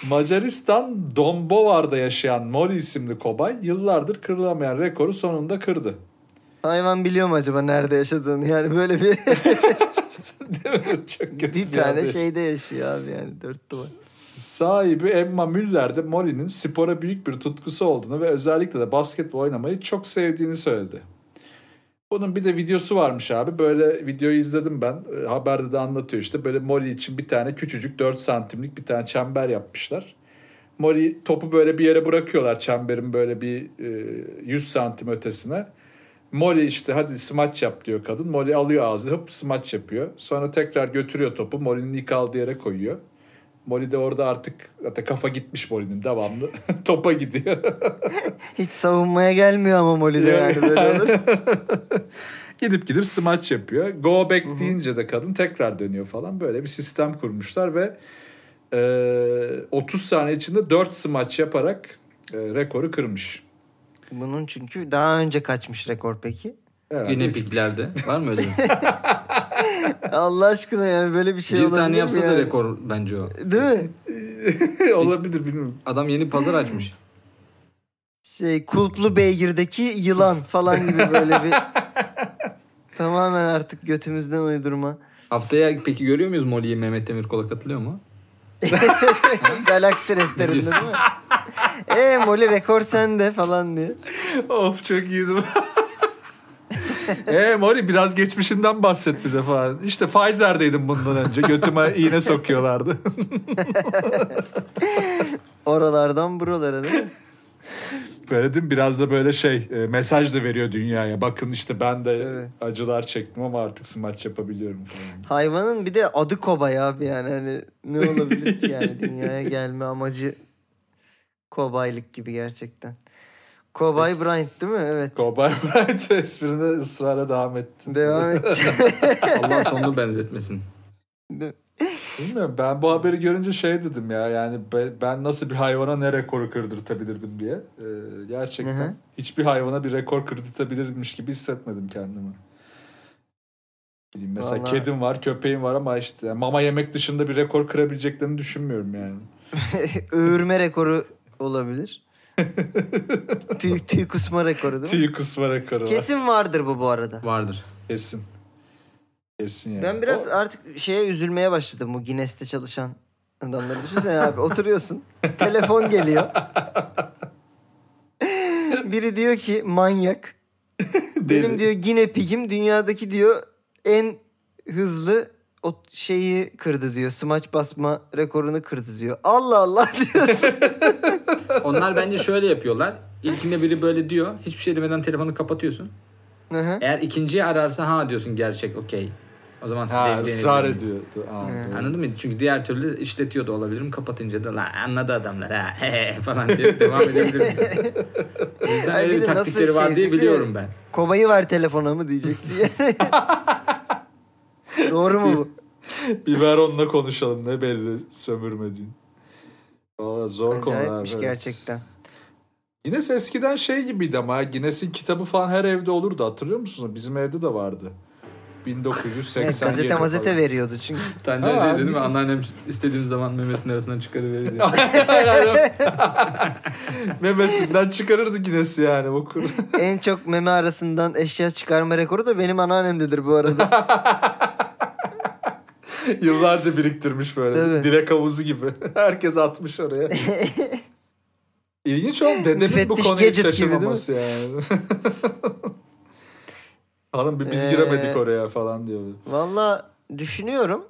Speaker 1: Macaristan Dombovar'da yaşayan Mori isimli kobay yıllardır kırılamayan rekoru sonunda kırdı.
Speaker 2: Hayvan biliyor mu acaba nerede yaşadığını? Yani böyle bir
Speaker 1: Değil mi? Çok kötü
Speaker 2: bir
Speaker 1: yerde.
Speaker 2: tane şey şeyde yaşıyor abi yani dört duvar.
Speaker 1: Sahibi Emma Müller de Mori'nin spora büyük bir tutkusu olduğunu ve özellikle de basketbol oynamayı çok sevdiğini söyledi. Bunun bir de videosu varmış abi. Böyle videoyu izledim ben. E, Haberde de anlatıyor işte. Böyle Mori için bir tane küçücük 4 santimlik bir tane çember yapmışlar. Mori topu böyle bir yere bırakıyorlar çemberin böyle bir e, 100 santim ötesine. Molly işte hadi smaç yap diyor kadın. Molly alıyor ağzını hop smaç yapıyor. Sonra tekrar götürüyor topu. Molly'nin ilk aldığı yere koyuyor. Molly de orada artık zaten kafa gitmiş Molly'nin devamlı. Topa gidiyor.
Speaker 2: Hiç savunmaya gelmiyor ama Molly'de
Speaker 1: Yani.
Speaker 2: yani böyle olur.
Speaker 1: gidip gidip smaç yapıyor. Go back deyince de kadın tekrar dönüyor falan. Böyle bir sistem kurmuşlar ve e, 30 saniye içinde 4 smaç yaparak e, rekoru kırmış.
Speaker 2: Bunun çünkü daha önce kaçmış rekor peki?
Speaker 1: Herhalde
Speaker 3: Yine
Speaker 1: üç-
Speaker 3: piklerde. Var mı öyle?
Speaker 2: Allah aşkına yani böyle bir şey
Speaker 3: bir
Speaker 2: olabilir
Speaker 3: tane
Speaker 2: mi
Speaker 3: yapsa da
Speaker 2: yani?
Speaker 3: rekor bence o.
Speaker 2: Değil mi?
Speaker 1: Olabilir bilmiyorum.
Speaker 3: Adam yeni pazar açmış.
Speaker 2: Şey kulplu beygir'deki yılan falan gibi böyle bir tamamen artık götümüzden uydurma.
Speaker 3: Haftaya peki görüyor muyuz Molly'yi Mehmet Demirkol'a katılıyor mu?
Speaker 2: Galaksi rehberinde değil mi?
Speaker 3: Biliyorsunuz.
Speaker 2: Eee Molly rekor sende falan diye.
Speaker 1: Of çok iyiydi. Eee Mori biraz geçmişinden bahset bize falan. İşte Pfizer'deydim bundan önce. Götüme iğne sokuyorlardı.
Speaker 2: Oralardan buralara değil mi?
Speaker 1: böyle değil mi? Biraz da böyle şey e, mesaj da veriyor dünyaya. Bakın işte ben de
Speaker 2: Evet.
Speaker 1: acılar çektim ama artık smaç yapabiliyorum falan.
Speaker 2: Hayvanın bir de adı kobay abi yani hani ne olabilir ki yani dünyaya gelme amacı kobaylık gibi gerçekten. Kobay Bryant değil mi? Evet.
Speaker 1: Cowboy Bryant esprine ısrara devam ettin.
Speaker 2: Devam edeceğim.
Speaker 3: Allah sonunu benzetmesin.
Speaker 1: Bilmiyorum ben bu haberi görünce şey dedim ya yani be- ben nasıl bir hayvana ne rekoru kırdırtabilirdim diye. Ee, gerçekten
Speaker 2: Hı hı.
Speaker 1: hiçbir hayvana bir rekor kırdırtabilirmiş gibi hissetmedim kendimi. Bileyim, mesela
Speaker 2: Vallahi-
Speaker 1: kedim var köpeğim var ama işte yani mama yemek dışında bir rekor kırabileceklerini düşünmüyorum yani.
Speaker 2: Öğürme rekoru olabilir. tüy, tüy kusma rekoru değil mi?
Speaker 1: Tüy kusma rekoru var.
Speaker 2: Kesin vardır bu bu arada.
Speaker 3: Vardır.
Speaker 1: Kesin. Kesin yani.
Speaker 2: Ben biraz
Speaker 1: O-
Speaker 2: artık şeye üzülmeye başladım bu Guinness'te çalışan adamları. Düşünsene abi oturuyorsun. telefon geliyor. Biri diyor ki manyak. Benim
Speaker 1: deli.
Speaker 2: diyor Guinea pigim dünyadaki diyor en hızlı o şeyi kırdı diyor. Smaç basma rekorunu kırdı diyor. Allah Allah diyorsun.
Speaker 3: Onlar bence şöyle yapıyorlar. İlkinde biri böyle diyor. Hiçbir şey demeden telefonu kapatıyorsun.
Speaker 2: Hı hı.
Speaker 3: Eğer ikinciyi ararsa ha diyorsun gerçek okey. O zaman siz de
Speaker 1: Ha,
Speaker 3: evlenebilirsiniz.
Speaker 1: ısrar ediyordu. Ha, doğru.
Speaker 3: Anladın mı? Çünkü diğer türlü işletiyor da olabilirim. Kapatınca da la anladı adamlar ha hehe" falan diye devam edebilirim. O yüzden
Speaker 2: Ay,
Speaker 3: öyle
Speaker 2: bir
Speaker 3: bir
Speaker 2: de nasıl
Speaker 3: taktikleri var diye
Speaker 2: şeysiz
Speaker 3: biliyorum
Speaker 2: yani.
Speaker 3: ben.
Speaker 2: Kobayı ver telefona mı diyeceksin. Doğru mu bu?
Speaker 1: Biberon'la konuşalım ne belli sömürmediğin. Valla zor konu abi.
Speaker 2: Acayipmiş
Speaker 1: evet.
Speaker 2: gerçekten.
Speaker 1: Guinness eskiden şey gibiydi ama ha, Guinness'in kitabı falan her evde olurdu hatırlıyor musunuz? Bizim evde de vardı. 1987
Speaker 2: Evet, gazete
Speaker 1: falan.
Speaker 2: mazete veriyordu çünkü.
Speaker 3: Tanca
Speaker 1: Ha,
Speaker 3: şey dedim
Speaker 1: abi.
Speaker 3: ya, anneannem istediğim zaman memesinin arasından çıkarıverir diye.
Speaker 1: Memesinden çıkarırdı Guinness'i yani okur.
Speaker 2: en çok meme arasından eşya çıkarma rekoru da benim anneannemdedir bu arada.
Speaker 1: Yıllarca biriktirmiş böyle.
Speaker 2: Tabii.
Speaker 1: Dilek havuzu gibi. Herkes atmış oraya. İlginç oğlum dedemin bu
Speaker 2: Müfettiş
Speaker 1: konuya hiç
Speaker 2: Gadget gibi değil mi?
Speaker 1: şaşırmaması yani. Hanım bir biz
Speaker 2: Ee,
Speaker 1: giremedik oraya falan diyor.
Speaker 2: Valla düşünüyorum.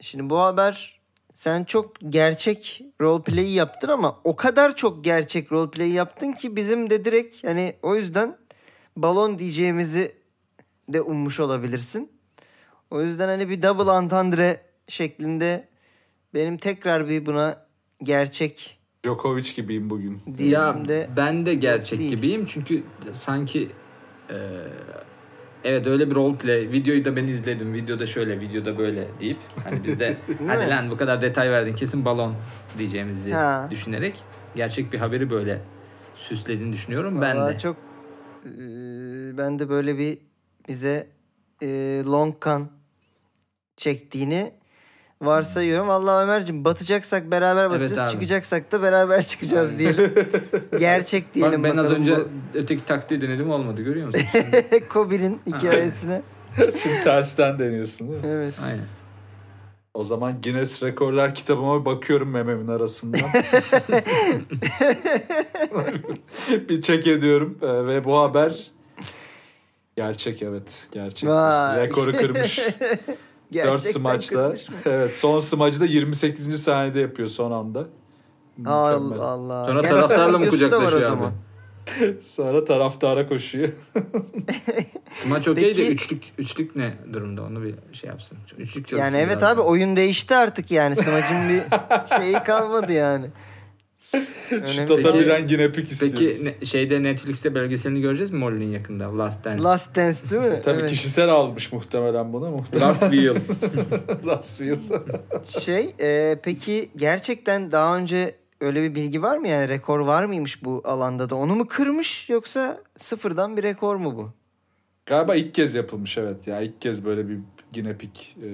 Speaker 2: Şimdi bu haber sen çok gerçek roleplay'i yaptın ama o kadar çok gerçek roleplay'i yaptın ki bizim de direkt hani o yüzden balon diyeceğimizi de ummuş olabilirsin. O yüzden hani bir double entendre şeklinde benim tekrar bir buna gerçek
Speaker 1: Djokovic gibiyim bugün.
Speaker 2: diyesim de
Speaker 3: ben de gerçek
Speaker 2: değil.
Speaker 3: gibiyim çünkü sanki e, evet öyle bir roleplay videoyu da ben izledim videoda şöyle videoda böyle deyip hani biz de
Speaker 2: mi?
Speaker 3: hadi lan bu kadar detay verdin kesin balon diyeceğimizi
Speaker 2: Ha.
Speaker 3: düşünerek gerçek bir haberi böyle süslediğini düşünüyorum ben
Speaker 2: Vallahi
Speaker 3: de.
Speaker 2: çok eee, ben de böyle bir bize eee long kan çektiğini varsayıyorum. Allah Ömerciğim batacaksak beraber batacağız,
Speaker 3: abi.
Speaker 2: çıkacaksak da beraber çıkacağız diyelim. Gerçek
Speaker 3: Bak
Speaker 2: diyelim
Speaker 3: ben az
Speaker 2: bakalım
Speaker 3: önce öteki taktiği denedim olmadı görüyor musun?
Speaker 2: bu Kobe'nin hikayesine.
Speaker 1: Şimdi tersten deniyorsun değil mi?
Speaker 2: evet.
Speaker 3: Aynen.
Speaker 1: O zaman Guinness Rekorlar kitabıma bakıyorum mememin arasından. bir çek ediyorum Ee, ve bu haber gerçek evet gerçek.
Speaker 2: Vay.
Speaker 1: Rekoru kırmış. 4
Speaker 2: Gerçekten
Speaker 1: smaçta.
Speaker 2: kırmış.
Speaker 1: Evet son smacı da 28. saniyede yapıyor son anda. Mükemmel.
Speaker 2: Allah Allah.
Speaker 3: Sonra
Speaker 2: Gerçekten
Speaker 3: taraftarla mı
Speaker 2: videosu da var o
Speaker 3: kucaklaşıyor abi?
Speaker 2: zaman.
Speaker 1: Sonra taraftara koşuyor.
Speaker 3: Maç okey de
Speaker 2: Peki-
Speaker 3: üçlük, üçlük ne durumda onu bir şey yapsın. Üçlük çalışsın
Speaker 2: Yani evet
Speaker 3: biraz.
Speaker 2: abi oyun değişti artık yani. Smacın bir şeyi kalmadı yani.
Speaker 1: Şut
Speaker 2: Önemli.
Speaker 1: atabilen yine pik
Speaker 3: Peki
Speaker 1: istiyoruz.
Speaker 3: ne- şeyde Netflix'te belgeselini göreceğiz mi Molly'nin yakında? Last Dance. Last,
Speaker 2: Last Dance değil mi?
Speaker 1: E, Tabii
Speaker 2: Evet.
Speaker 1: kişisel almış muhtemelen bunu. Muhtemelen
Speaker 3: Wheel.
Speaker 1: last year.
Speaker 2: Şey e, peki gerçekten daha önce öyle bir bilgi var mı? Yani rekor var mıymış bu alanda da? Onu mu kırmış yoksa sıfırdan bir rekor mu bu?
Speaker 1: Galiba ilk kez yapılmış evet ya. ilk kez böyle bir Ginepik e,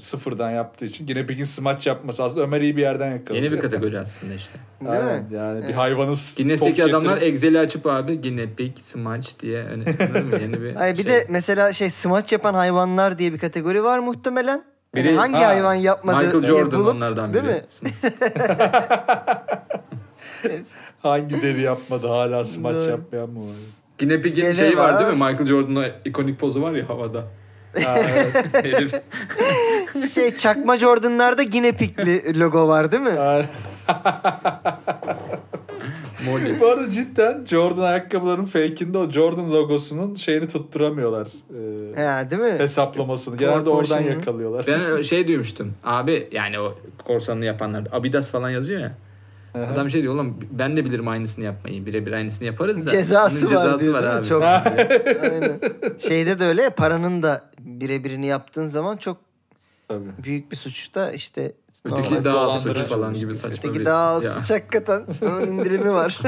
Speaker 1: sıfırdan yaptığı için Ginepik'in smaç yapması aslında Ömer iyi bir yerden yakaladı.
Speaker 3: Yeni bir kategori aslında işte.
Speaker 2: Değil
Speaker 1: Aynen,
Speaker 2: mi?
Speaker 1: Yani bir
Speaker 2: Evet.
Speaker 1: hayvanın
Speaker 3: Guinness'teki
Speaker 1: top
Speaker 3: adamlar
Speaker 1: getirip-
Speaker 3: Excel'i açıp abi Guinness Pig Smash diye öne anladın mı? yeni bir
Speaker 2: Ay bir
Speaker 3: şey.
Speaker 2: de mesela şey smaç yapan hayvanlar diye bir kategori var muhtemelen. Yani
Speaker 3: Biri-
Speaker 2: hangi
Speaker 3: Ha,
Speaker 2: hayvan yapmadı
Speaker 3: Michael
Speaker 2: diye
Speaker 3: Jordan
Speaker 2: şey bulup,
Speaker 3: onlardan
Speaker 2: değil
Speaker 3: biri.
Speaker 2: mi?
Speaker 1: hangi deli yapmadı hala smaç
Speaker 2: Doğru.
Speaker 1: yapmayan mı var?
Speaker 3: Guinea Pig'in
Speaker 2: Gene
Speaker 3: şeyi var,
Speaker 2: var.
Speaker 3: değil mi? Michael Jordan'ın o ikonik pozu var ya havada.
Speaker 1: Ha, evet.
Speaker 3: Herif.
Speaker 2: Şey çakma Jordan'larda yine pikli logo var değil mi?
Speaker 1: Yani-
Speaker 3: Molly.
Speaker 1: Bu arada cidden Jordan ayakkabılarının fake'inde o Jordan logosunun şeyini tutturamıyorlar. e,
Speaker 2: Ha, değil mi?
Speaker 1: hesaplamasını. Genelde oradan
Speaker 2: Proportion'ını.
Speaker 1: yakalıyorlar.
Speaker 3: Ben şey duymuştum. Abi yani o korsanını yapanlar Abidas falan yazıyor ya. Adam şey diyor oğlum ben de bilirim aynısını yapmayı. Birebir aynısını yaparız da.
Speaker 2: Cezası
Speaker 3: bunun
Speaker 2: var diyor, değil mi? Çok-
Speaker 3: abi.
Speaker 2: Aynen. Şeyde de öyle ya, paranın da birebirini yaptığın zaman çok
Speaker 1: Tabii.
Speaker 2: büyük bir suç da işte normal
Speaker 3: Öteki daha az
Speaker 1: dolandırıcı
Speaker 3: suçu falan
Speaker 1: olmuş.
Speaker 3: gibi saçma
Speaker 2: Öteki
Speaker 3: bir-
Speaker 2: daha az
Speaker 3: Ya.
Speaker 2: suç hakikaten. Onun indirimi var.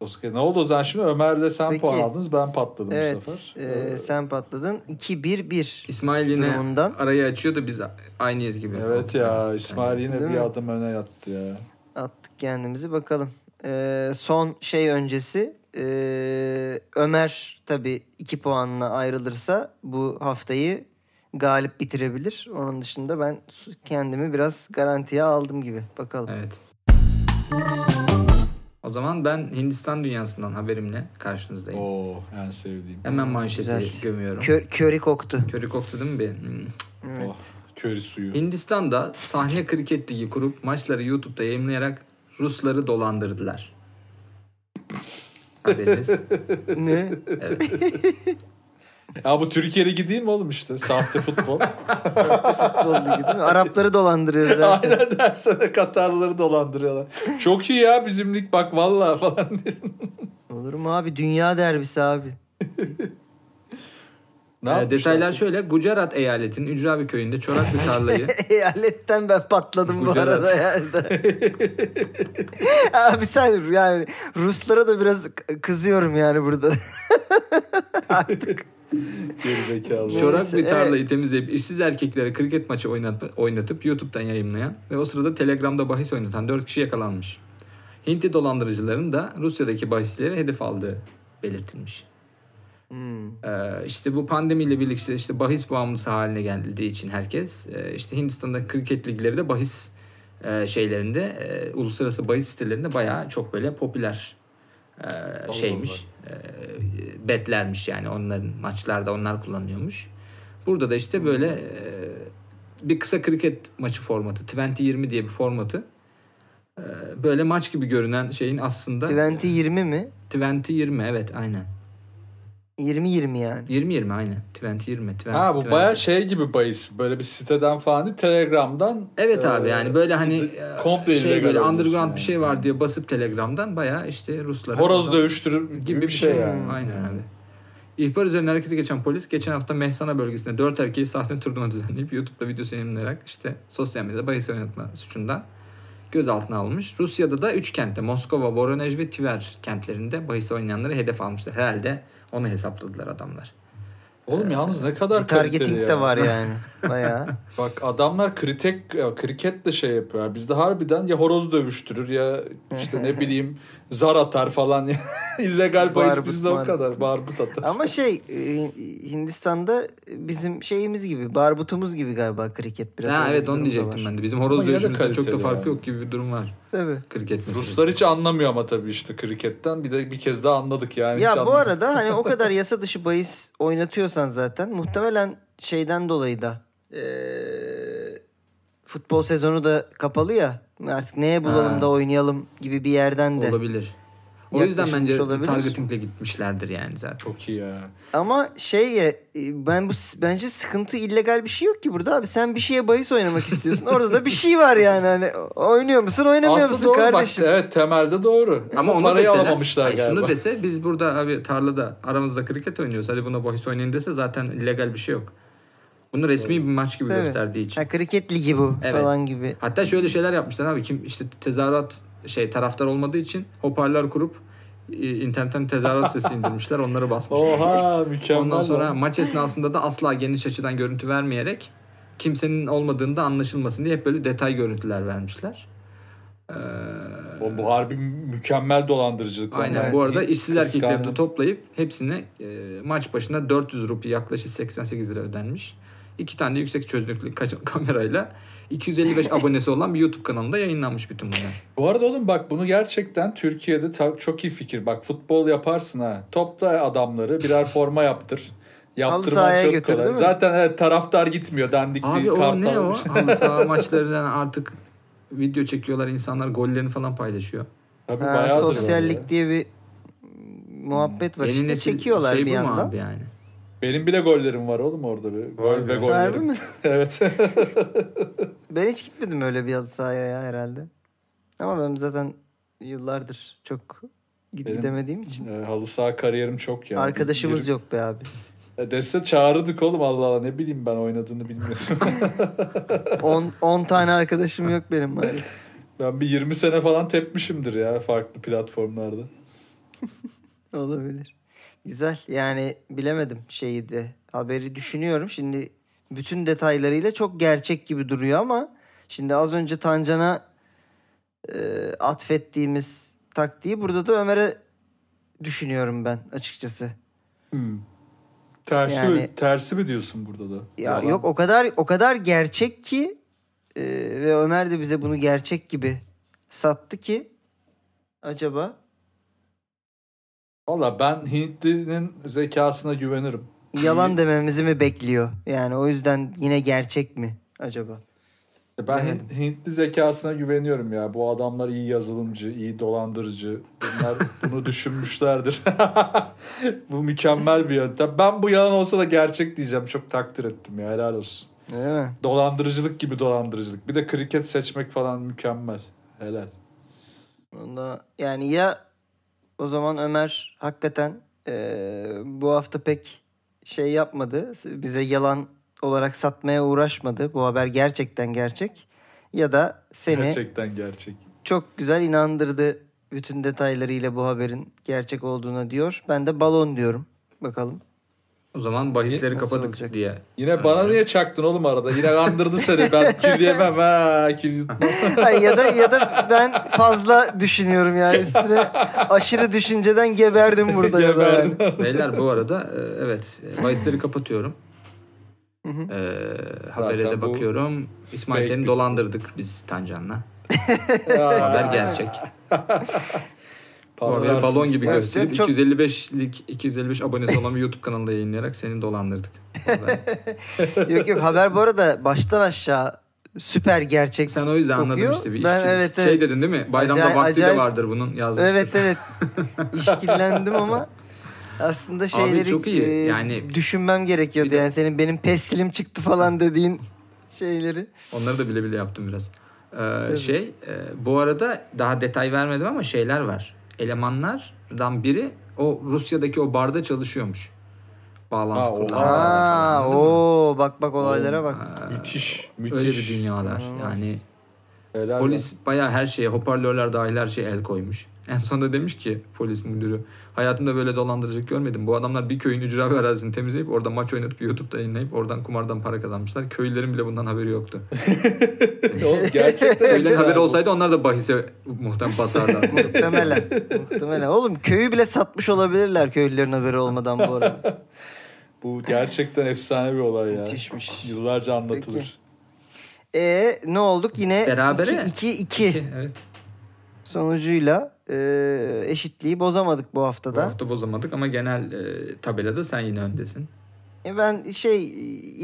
Speaker 1: Oscar. Ne oldu o zaman şimdi? Ömer'le sen
Speaker 2: Peki.
Speaker 1: puan aldınız. Ben patladım bu
Speaker 2: Evet.
Speaker 1: sefer.
Speaker 2: e, sen patladın. 2-1-1.
Speaker 3: İsmail yine
Speaker 2: Durumundan.
Speaker 3: arayı açıyor da biz aynıyız gibi.
Speaker 1: Evet ya İsmail yine
Speaker 2: Değil
Speaker 1: bir
Speaker 2: mi?
Speaker 1: adım öne yattı ya.
Speaker 2: Attık kendimizi bakalım. E, son şey öncesi e, Ömer tabii 2 puanla ayrılırsa bu haftayı galip bitirebilir. Onun dışında ben su- kendimi biraz garantiye aldım gibi. Bakalım.
Speaker 3: Evet. O zaman ben Hindistan dünyasından haberimle karşınızdayım.
Speaker 1: Oo Oh, en sevdiğim.
Speaker 3: Hemen manşeti
Speaker 2: Güzel.
Speaker 3: gömüyorum.
Speaker 2: Kö- köri koktu.
Speaker 3: Körü koktu değil mi bir? Hmm.
Speaker 2: Evet.
Speaker 1: Oh, köri suyu.
Speaker 3: Hindistan'da sahne kriket ligi kurup maçları YouTube'da yayınlayarak Rusları dolandırdılar. Haberiniz. Ee,
Speaker 2: ne?
Speaker 3: Evet.
Speaker 1: Ya bu Türkiye Ligi değil mi oğlum işte? Sahte futbol.
Speaker 2: Futbol ligi değil mi? Arapları dolandırıyoruz her sene.
Speaker 1: Aynen dersene Katarlıları dolandırıyorlar. Çok iyi ya bizim lig bak valla falan diye.
Speaker 2: Olur mu abi? Dünya derbisi abi.
Speaker 1: Ne
Speaker 3: Ee,
Speaker 1: yapmışlar?
Speaker 3: detaylar şöyle. Gujarat eyaletinin Ücra bir köyünde çorak bir tarlayı
Speaker 2: Eyaletten ben patladım bu
Speaker 3: Gujarat.
Speaker 2: arada yerde. Abi sen yani Ruslara da biraz k- kızıyorum yani burada.
Speaker 1: Gerizekalı.
Speaker 2: Neyse,
Speaker 3: Çorak bir
Speaker 2: evet.
Speaker 3: tarlayı temizleyip işsiz erkeklere kriket maçı oynat, oynatıp YouTube'dan yayınlayan ve o sırada Telegram'da bahis oynatan 4 kişi yakalanmış. Hintli dolandırıcıların da Rusya'daki bahisleri hedef aldığı belirtilmiş.
Speaker 2: Hmm.
Speaker 3: Ee, işte bu pandemiyle birlikte işte bahis bağımlısı haline geldiği için herkes e, işte Hindistan'da kriket ligleri de bahis e, şeylerinde e, uluslararası bahis sitelerinde bayağı çok böyle popüler e, şeymiş. e, betlermiş yani onların maçlarda onlar kullanıyormuş. Burada da işte böyle e, bir kısa kriket maçı formatı 20-20 diye bir formatı e, böyle maç gibi görünen şeyin aslında
Speaker 2: 20-20 mi?
Speaker 3: 20-20 evet aynen.
Speaker 2: 20-20 yani.
Speaker 3: 20-20 aynen. 20-20. 20,
Speaker 1: Ha bu
Speaker 3: 20.
Speaker 1: baya şey gibi bahis. Böyle bir siteden falan değil. Telegram'dan.
Speaker 3: Evet
Speaker 1: e,
Speaker 3: abi yani böyle hani
Speaker 1: d-
Speaker 3: e,
Speaker 1: komple
Speaker 3: şey
Speaker 1: illegal
Speaker 3: böyle
Speaker 1: oynuyorsun
Speaker 3: underground
Speaker 1: yani.
Speaker 3: bir şey var diye basıp Telegram'dan bayağı işte Ruslara
Speaker 1: Horoz
Speaker 3: falan
Speaker 1: dövüştürür gibi bir şey yani.
Speaker 3: Aynen abi. İhbar üzerine harekete geçen polis geçen hafta Mehsana bölgesinde 4 erkeği sahte turnuva düzenleyip YouTube'da videosu yayınlayarak işte sosyal medyada bahis oynatma suçundan gözaltına almış. Rusya'da da 3 kentte Moskova, Voronej ve Tver kentlerinde bahis oynayanları hedef almışlar. Herhalde onu hesapladılar adamlar.
Speaker 1: Oğlum yalnız ne
Speaker 2: Bir
Speaker 1: kadar kaliteli
Speaker 2: targeting
Speaker 1: ya.
Speaker 2: de var yani. Bayağı.
Speaker 1: Bak adamlar kritek, ya, kriketle şey yapıyor. Bizde harbiden ya horoz dövüştürür ya işte ne bileyim zar atar falan. İllegal bahis
Speaker 2: Barbut,
Speaker 1: bizde o
Speaker 2: barbut.
Speaker 1: kadar. Barbut atar.
Speaker 2: Ama şey e, Hindistan'da bizim şeyimiz gibi, barbutumuz gibi galiba kriket biraz.
Speaker 3: Ha
Speaker 2: öyle bir
Speaker 3: evet
Speaker 2: durum
Speaker 3: onu
Speaker 2: da var.
Speaker 3: diyecektim ben de. Bizim
Speaker 1: Ama
Speaker 3: horoz
Speaker 1: yine de
Speaker 3: dövüşümüzden çok da
Speaker 1: kaliteli
Speaker 3: farkı
Speaker 1: yani.
Speaker 3: yok gibi bir durum var.
Speaker 2: Tabii.
Speaker 3: Kriket meselesi.
Speaker 1: Ruslar hiç anlamıyor ama tabii işte kriketten. Bir de bir kez daha anladık yani. Hiç
Speaker 2: Ya bu
Speaker 1: anlamıyor.
Speaker 2: arada hani o kadar yasa dışı bahis oynatıyorsan zaten muhtemelen şeyden dolayı da eee, futbol sezonu da kapalı ya artık neye bulalım
Speaker 3: Ha.
Speaker 2: da oynayalım gibi bir yerden de.
Speaker 3: olabilir. O yüzden
Speaker 2: Yaklaşılmış
Speaker 3: bence
Speaker 2: olabilir.
Speaker 3: targetingle gitmişlerdir yani zaten.
Speaker 1: Çok iyi ya.
Speaker 2: Ama şey ya e, ben bu bence sıkıntı illegal bir şey yok ki burada abi sen bir şeye bahis oynamak istiyorsun orada da bir şey var yani hani oynuyor musun oynamıyor
Speaker 1: Aslında
Speaker 2: musun
Speaker 1: doğru
Speaker 2: kardeşim?
Speaker 3: e,
Speaker 1: bak. Evet temelde doğru.
Speaker 3: Ama onu
Speaker 1: parayı
Speaker 3: deseler,
Speaker 1: alamamışlar
Speaker 3: hayır,
Speaker 1: galiba.
Speaker 3: Şunu dese biz burada abi tarlada aramızda kriket oynuyoruz. Hadi buna bahis oynayın dese zaten illegal bir şey yok. Bunu resmi bir maç gibi
Speaker 2: Tabii.
Speaker 3: gösterdiği için.
Speaker 2: Ha, kriket ligi bu
Speaker 3: Evet.
Speaker 2: falan gibi.
Speaker 3: Hatta şöyle şeyler yapmışlar abi. Kim işte tezahürat şey taraftar olmadığı için hoparlör kurup e, internetten tezahürat sesi indirmişler. Onları basmışlar.
Speaker 1: Oha mükemmel.
Speaker 3: Ondan sonra
Speaker 1: lan.
Speaker 3: maç esnasında da asla geniş açıdan görüntü vermeyerek kimsenin olmadığında anlaşılmasın diye hep böyle detay görüntüler vermişler. Ee,
Speaker 1: Oğlum bu harbi mükemmel dolandırıcılık. lan.
Speaker 3: aynen
Speaker 1: Yani
Speaker 3: bu arada
Speaker 1: ilk
Speaker 3: işsiz
Speaker 1: kıskandığım-
Speaker 3: erkekleri de toplayıp hepsine e, maç başına 400 rupi yaklaşık 88 lira ödenmiş. İki tane de yüksek çözünürlüklü kaç- kamerayla 255 abonesi olan bir YouTube kanalında yayınlanmış bütün bunlar.
Speaker 1: Bu arada oğlum bak bunu gerçekten Türkiye'de ta- çok iyi fikir. Bak futbol yaparsın ha. Topla adamları birer forma yaptır. Yaptırman
Speaker 2: sahaya
Speaker 1: çok
Speaker 2: götür, değil
Speaker 1: kolay.
Speaker 2: mi?
Speaker 1: Zaten evet, taraftar gitmiyor. Dandik
Speaker 3: Abi
Speaker 1: bir şey.
Speaker 3: o
Speaker 1: kart
Speaker 3: ne o?
Speaker 1: almış.
Speaker 2: şey.
Speaker 3: Halı saha maçlarından artık video çekiyorlar insanlar gollerini falan paylaşıyor.
Speaker 1: Tabii
Speaker 2: Ha,
Speaker 1: bayağıdır böyle.
Speaker 2: sosyallik diye bir mm, muhabbet var.
Speaker 3: Hmm. Yeni
Speaker 2: işte
Speaker 3: nesil
Speaker 2: çekiyorlar
Speaker 3: şey
Speaker 2: bir
Speaker 3: bu mu
Speaker 2: yandan.
Speaker 3: abi yani?
Speaker 1: Benim bile gollerim var oğlum orada. Bir.
Speaker 3: Vay
Speaker 1: Gol
Speaker 3: be.
Speaker 1: ve
Speaker 2: Harbi
Speaker 1: gollerim.
Speaker 2: mi?
Speaker 1: evet.
Speaker 2: Ben hiç gitmedim öyle bir halı sahaya ya herhalde. Ama ben zaten yıllardır çok gid-
Speaker 1: Benim-
Speaker 2: gidemediğim için.
Speaker 1: E, halı saha kariyerim çok ya.
Speaker 2: Arkadaşımız
Speaker 1: Bir-
Speaker 2: yok be abi.
Speaker 1: E, Dese çağırdık oğlum Allah Allah ne bileyim ben oynadığını bilmiyorum.
Speaker 2: 10 tane arkadaşım yok benim maalesef.
Speaker 1: ben bir 20 sene falan tepmişimdir ya farklı platformlarda.
Speaker 2: Olabilir. Güzel. Yani bilemedim şeyi de. Haberi düşünüyorum. Şimdi bütün detaylarıyla çok gerçek gibi duruyor ama şimdi az önce Tancan'a e, atfettiğimiz taktiği burada da Ömer'e düşünüyorum ben açıkçası.
Speaker 1: Hmm. Tersi,
Speaker 2: Yani-
Speaker 1: mi, tersi mi diyorsun burada da?
Speaker 2: Ya
Speaker 1: Yalan.
Speaker 2: yok o kadar o kadar gerçek ki e, ve Ömer de bize bunu gerçek gibi sattı ki acaba
Speaker 1: Valla ben Hintli'nin zekasına güvenirim.
Speaker 2: yalan dememizi mi bekliyor? Yani o yüzden yine gerçek mi acaba?
Speaker 1: Ben Hint- Hintli zekasına güveniyorum ya. Bu adamlar iyi yazılımcı, iyi dolandırıcı. Bunlar bunu düşünmüşlerdir. bu mükemmel bir yöntem. Ben bu yalan olsa da gerçek diyeceğim. Çok takdir ettim ya. Helal olsun.
Speaker 2: Değil mi?
Speaker 1: Dolandırıcılık gibi dolandırıcılık. Bir de kriket seçmek falan mükemmel. Helal.
Speaker 2: Onda yani ya o zaman Ömer hakikaten eee, bu hafta pek şey yapmadı. Bize yalan olarak satmaya uğraşmadı. Bu haber gerçekten gerçek. Ya da seni
Speaker 1: Gerçekten gerçek.
Speaker 2: çok güzel inandırdı bütün detaylarıyla bu haberin gerçek olduğuna diyor. Ben de balon diyorum. Bakalım.
Speaker 3: O zaman bahisleri
Speaker 2: Nasıl
Speaker 3: kapadık
Speaker 2: olacak?
Speaker 3: diye.
Speaker 1: Yine bana niye çaktın oğlum arada? Yine kandırdı seni. Ben kül yemem ha. Kül yutmam.
Speaker 2: Ay, ya da ya da ben fazla düşünüyorum yani üstüne aşırı düşünceden geberdim burada ya da yani.
Speaker 1: Geberdin.
Speaker 3: Beyler bu arada e, evet e, bahisleri kapatıyorum.
Speaker 2: Hı hı.
Speaker 3: Ee, habere
Speaker 1: Zaten
Speaker 3: de
Speaker 1: bu
Speaker 3: bakıyorum. İsmail
Speaker 1: fake
Speaker 3: seni
Speaker 1: bir-
Speaker 3: dolandırdık biz Tancan'la.
Speaker 1: Ya.
Speaker 3: Haber gerçek. Bu haberi
Speaker 1: Parlarsın
Speaker 3: balon gibi
Speaker 1: İsmail.
Speaker 3: gösterip
Speaker 2: Çok-
Speaker 3: 255'lik 255 abonesi olan bir YouTube kanalında yayınlayarak seni dolandırdık. Haber.
Speaker 2: Yok yok haber bu arada baştan aşağı süper gerçek.
Speaker 3: Sen o yüzden anladım
Speaker 2: Kokuyor.
Speaker 3: işte bir
Speaker 2: Ben
Speaker 3: işçi-
Speaker 2: evet, evet.
Speaker 3: Şey dedin değil mi? Bayramda
Speaker 2: Acayip-
Speaker 3: vakti
Speaker 2: acayip-
Speaker 3: de vardır bunun yazmıştır.
Speaker 2: Evet evet. İşkillendim ama aslında şeyleri
Speaker 3: çok iyi.
Speaker 2: e,
Speaker 3: Yani-
Speaker 2: düşünmem gerekiyordu.
Speaker 3: Bir de-
Speaker 2: Yani senin benim pestilim çıktı falan dediğin şeyleri.
Speaker 3: Onları da bile bile yaptım biraz. Ee, şey e, bu arada daha detay vermedim ama şeyler var. Elemanlardan biri o Rusya'daki o barda çalışıyormuş. Bağlantı
Speaker 1: Ha,
Speaker 3: kurulan
Speaker 1: oha.
Speaker 3: barda falan,
Speaker 2: Aa
Speaker 3: anladın mı?
Speaker 2: o bak bak olaylara bak.
Speaker 1: Müthiş. Müthiş.
Speaker 3: Öyle bir dünyalar. Yani
Speaker 1: Helal
Speaker 3: polis bayağı her şeye hoparlörler dahil her şeye el koymuş. En sonunda demiş ki polis müdürü hayatımda böyle dolandırıcılık görmedim. Bu adamlar bir köyün ücra ve arazisini temizleyip orada maç oynatıp YouTube'da yayınlayıp oradan kumardan para kazanmışlar. Köylülerin bile bundan haberi yoktu.
Speaker 1: ya. Oğlum gerçekten
Speaker 3: Köylülerin
Speaker 1: efsane
Speaker 3: haberi
Speaker 1: bu.
Speaker 3: olsaydı onlar da bahise muhtemelen basarlardı.
Speaker 2: Muhtemelen. Muhtemelen. Oğlum köyü bile satmış olabilirler köylülerin haberi olmadan bu arada.
Speaker 1: Bu gerçekten efsane bir olay ya.
Speaker 2: Müthişmiş.
Speaker 1: Yıllarca anlatılır.
Speaker 2: E ne olduk yine?
Speaker 3: Berabere.
Speaker 2: 2-2
Speaker 3: evet.
Speaker 2: sonucuyla e, eşitliği bozamadık bu
Speaker 3: Bu
Speaker 2: haftada.
Speaker 3: hafta bozamadık ama genel e, tabelada sen yine öndesin.
Speaker 2: E ben şey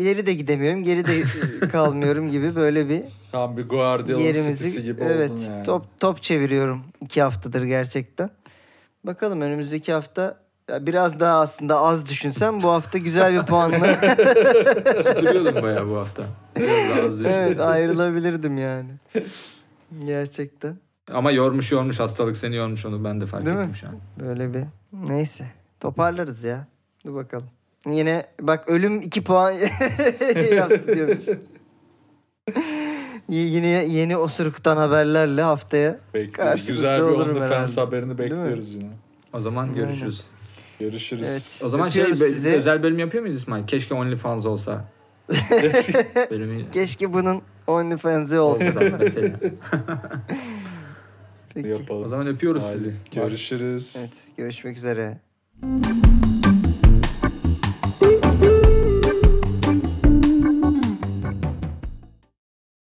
Speaker 2: ileri de gidemiyorum, geri de e, kalmıyorum gibi böyle bir
Speaker 1: Tam bir Guardiola'nın City'si
Speaker 2: yerimizi
Speaker 1: gibi oldun
Speaker 2: evet
Speaker 1: yani.
Speaker 2: top top çeviriyorum iki haftadır gerçekten. Bakalım önümüzdeki hafta ya biraz daha aslında az düşünsem bu hafta güzel bir puanla
Speaker 3: Tutturuyordun bayağı bu hafta. Biraz daha az düşün.
Speaker 2: evet ayrılabilirdim yani. Gerçekten
Speaker 3: Ama yormuş yormuş hastalık seni yormuş onu ben de fark
Speaker 2: Değil mi?
Speaker 3: ettim şu an.
Speaker 2: böyle bir neyse toparlarız ya. Dur bakalım. Yine bak ölüm 2 puan yaptı diyormuş. Y- Yine yeni osuruktan haberlerle haftaya
Speaker 1: Bekliyoruz.
Speaker 2: Karşınızda
Speaker 1: Güzel bir On
Speaker 2: olurum
Speaker 1: Defense
Speaker 2: herhalde.
Speaker 1: haberini
Speaker 2: Değil mi?
Speaker 1: bekliyoruz yine.
Speaker 3: O zaman görüşürüz.
Speaker 1: Görüşürüz.
Speaker 2: Evet.
Speaker 3: O zaman
Speaker 2: Öpüyoruz
Speaker 3: şey be-
Speaker 2: sizi.
Speaker 3: özel bölüm yapıyor muyuz İsmail? Keşke OnlyFans olsa. Bölümü
Speaker 2: Keşke bunun OnlyFans'ı olsa.
Speaker 3: olsa da mesela.
Speaker 2: Peki.
Speaker 1: Yapalım.
Speaker 3: O zaman öpüyoruz
Speaker 1: Haydi,
Speaker 3: sizi.
Speaker 1: Görüşürüz.
Speaker 2: Evet, görüşmek üzere.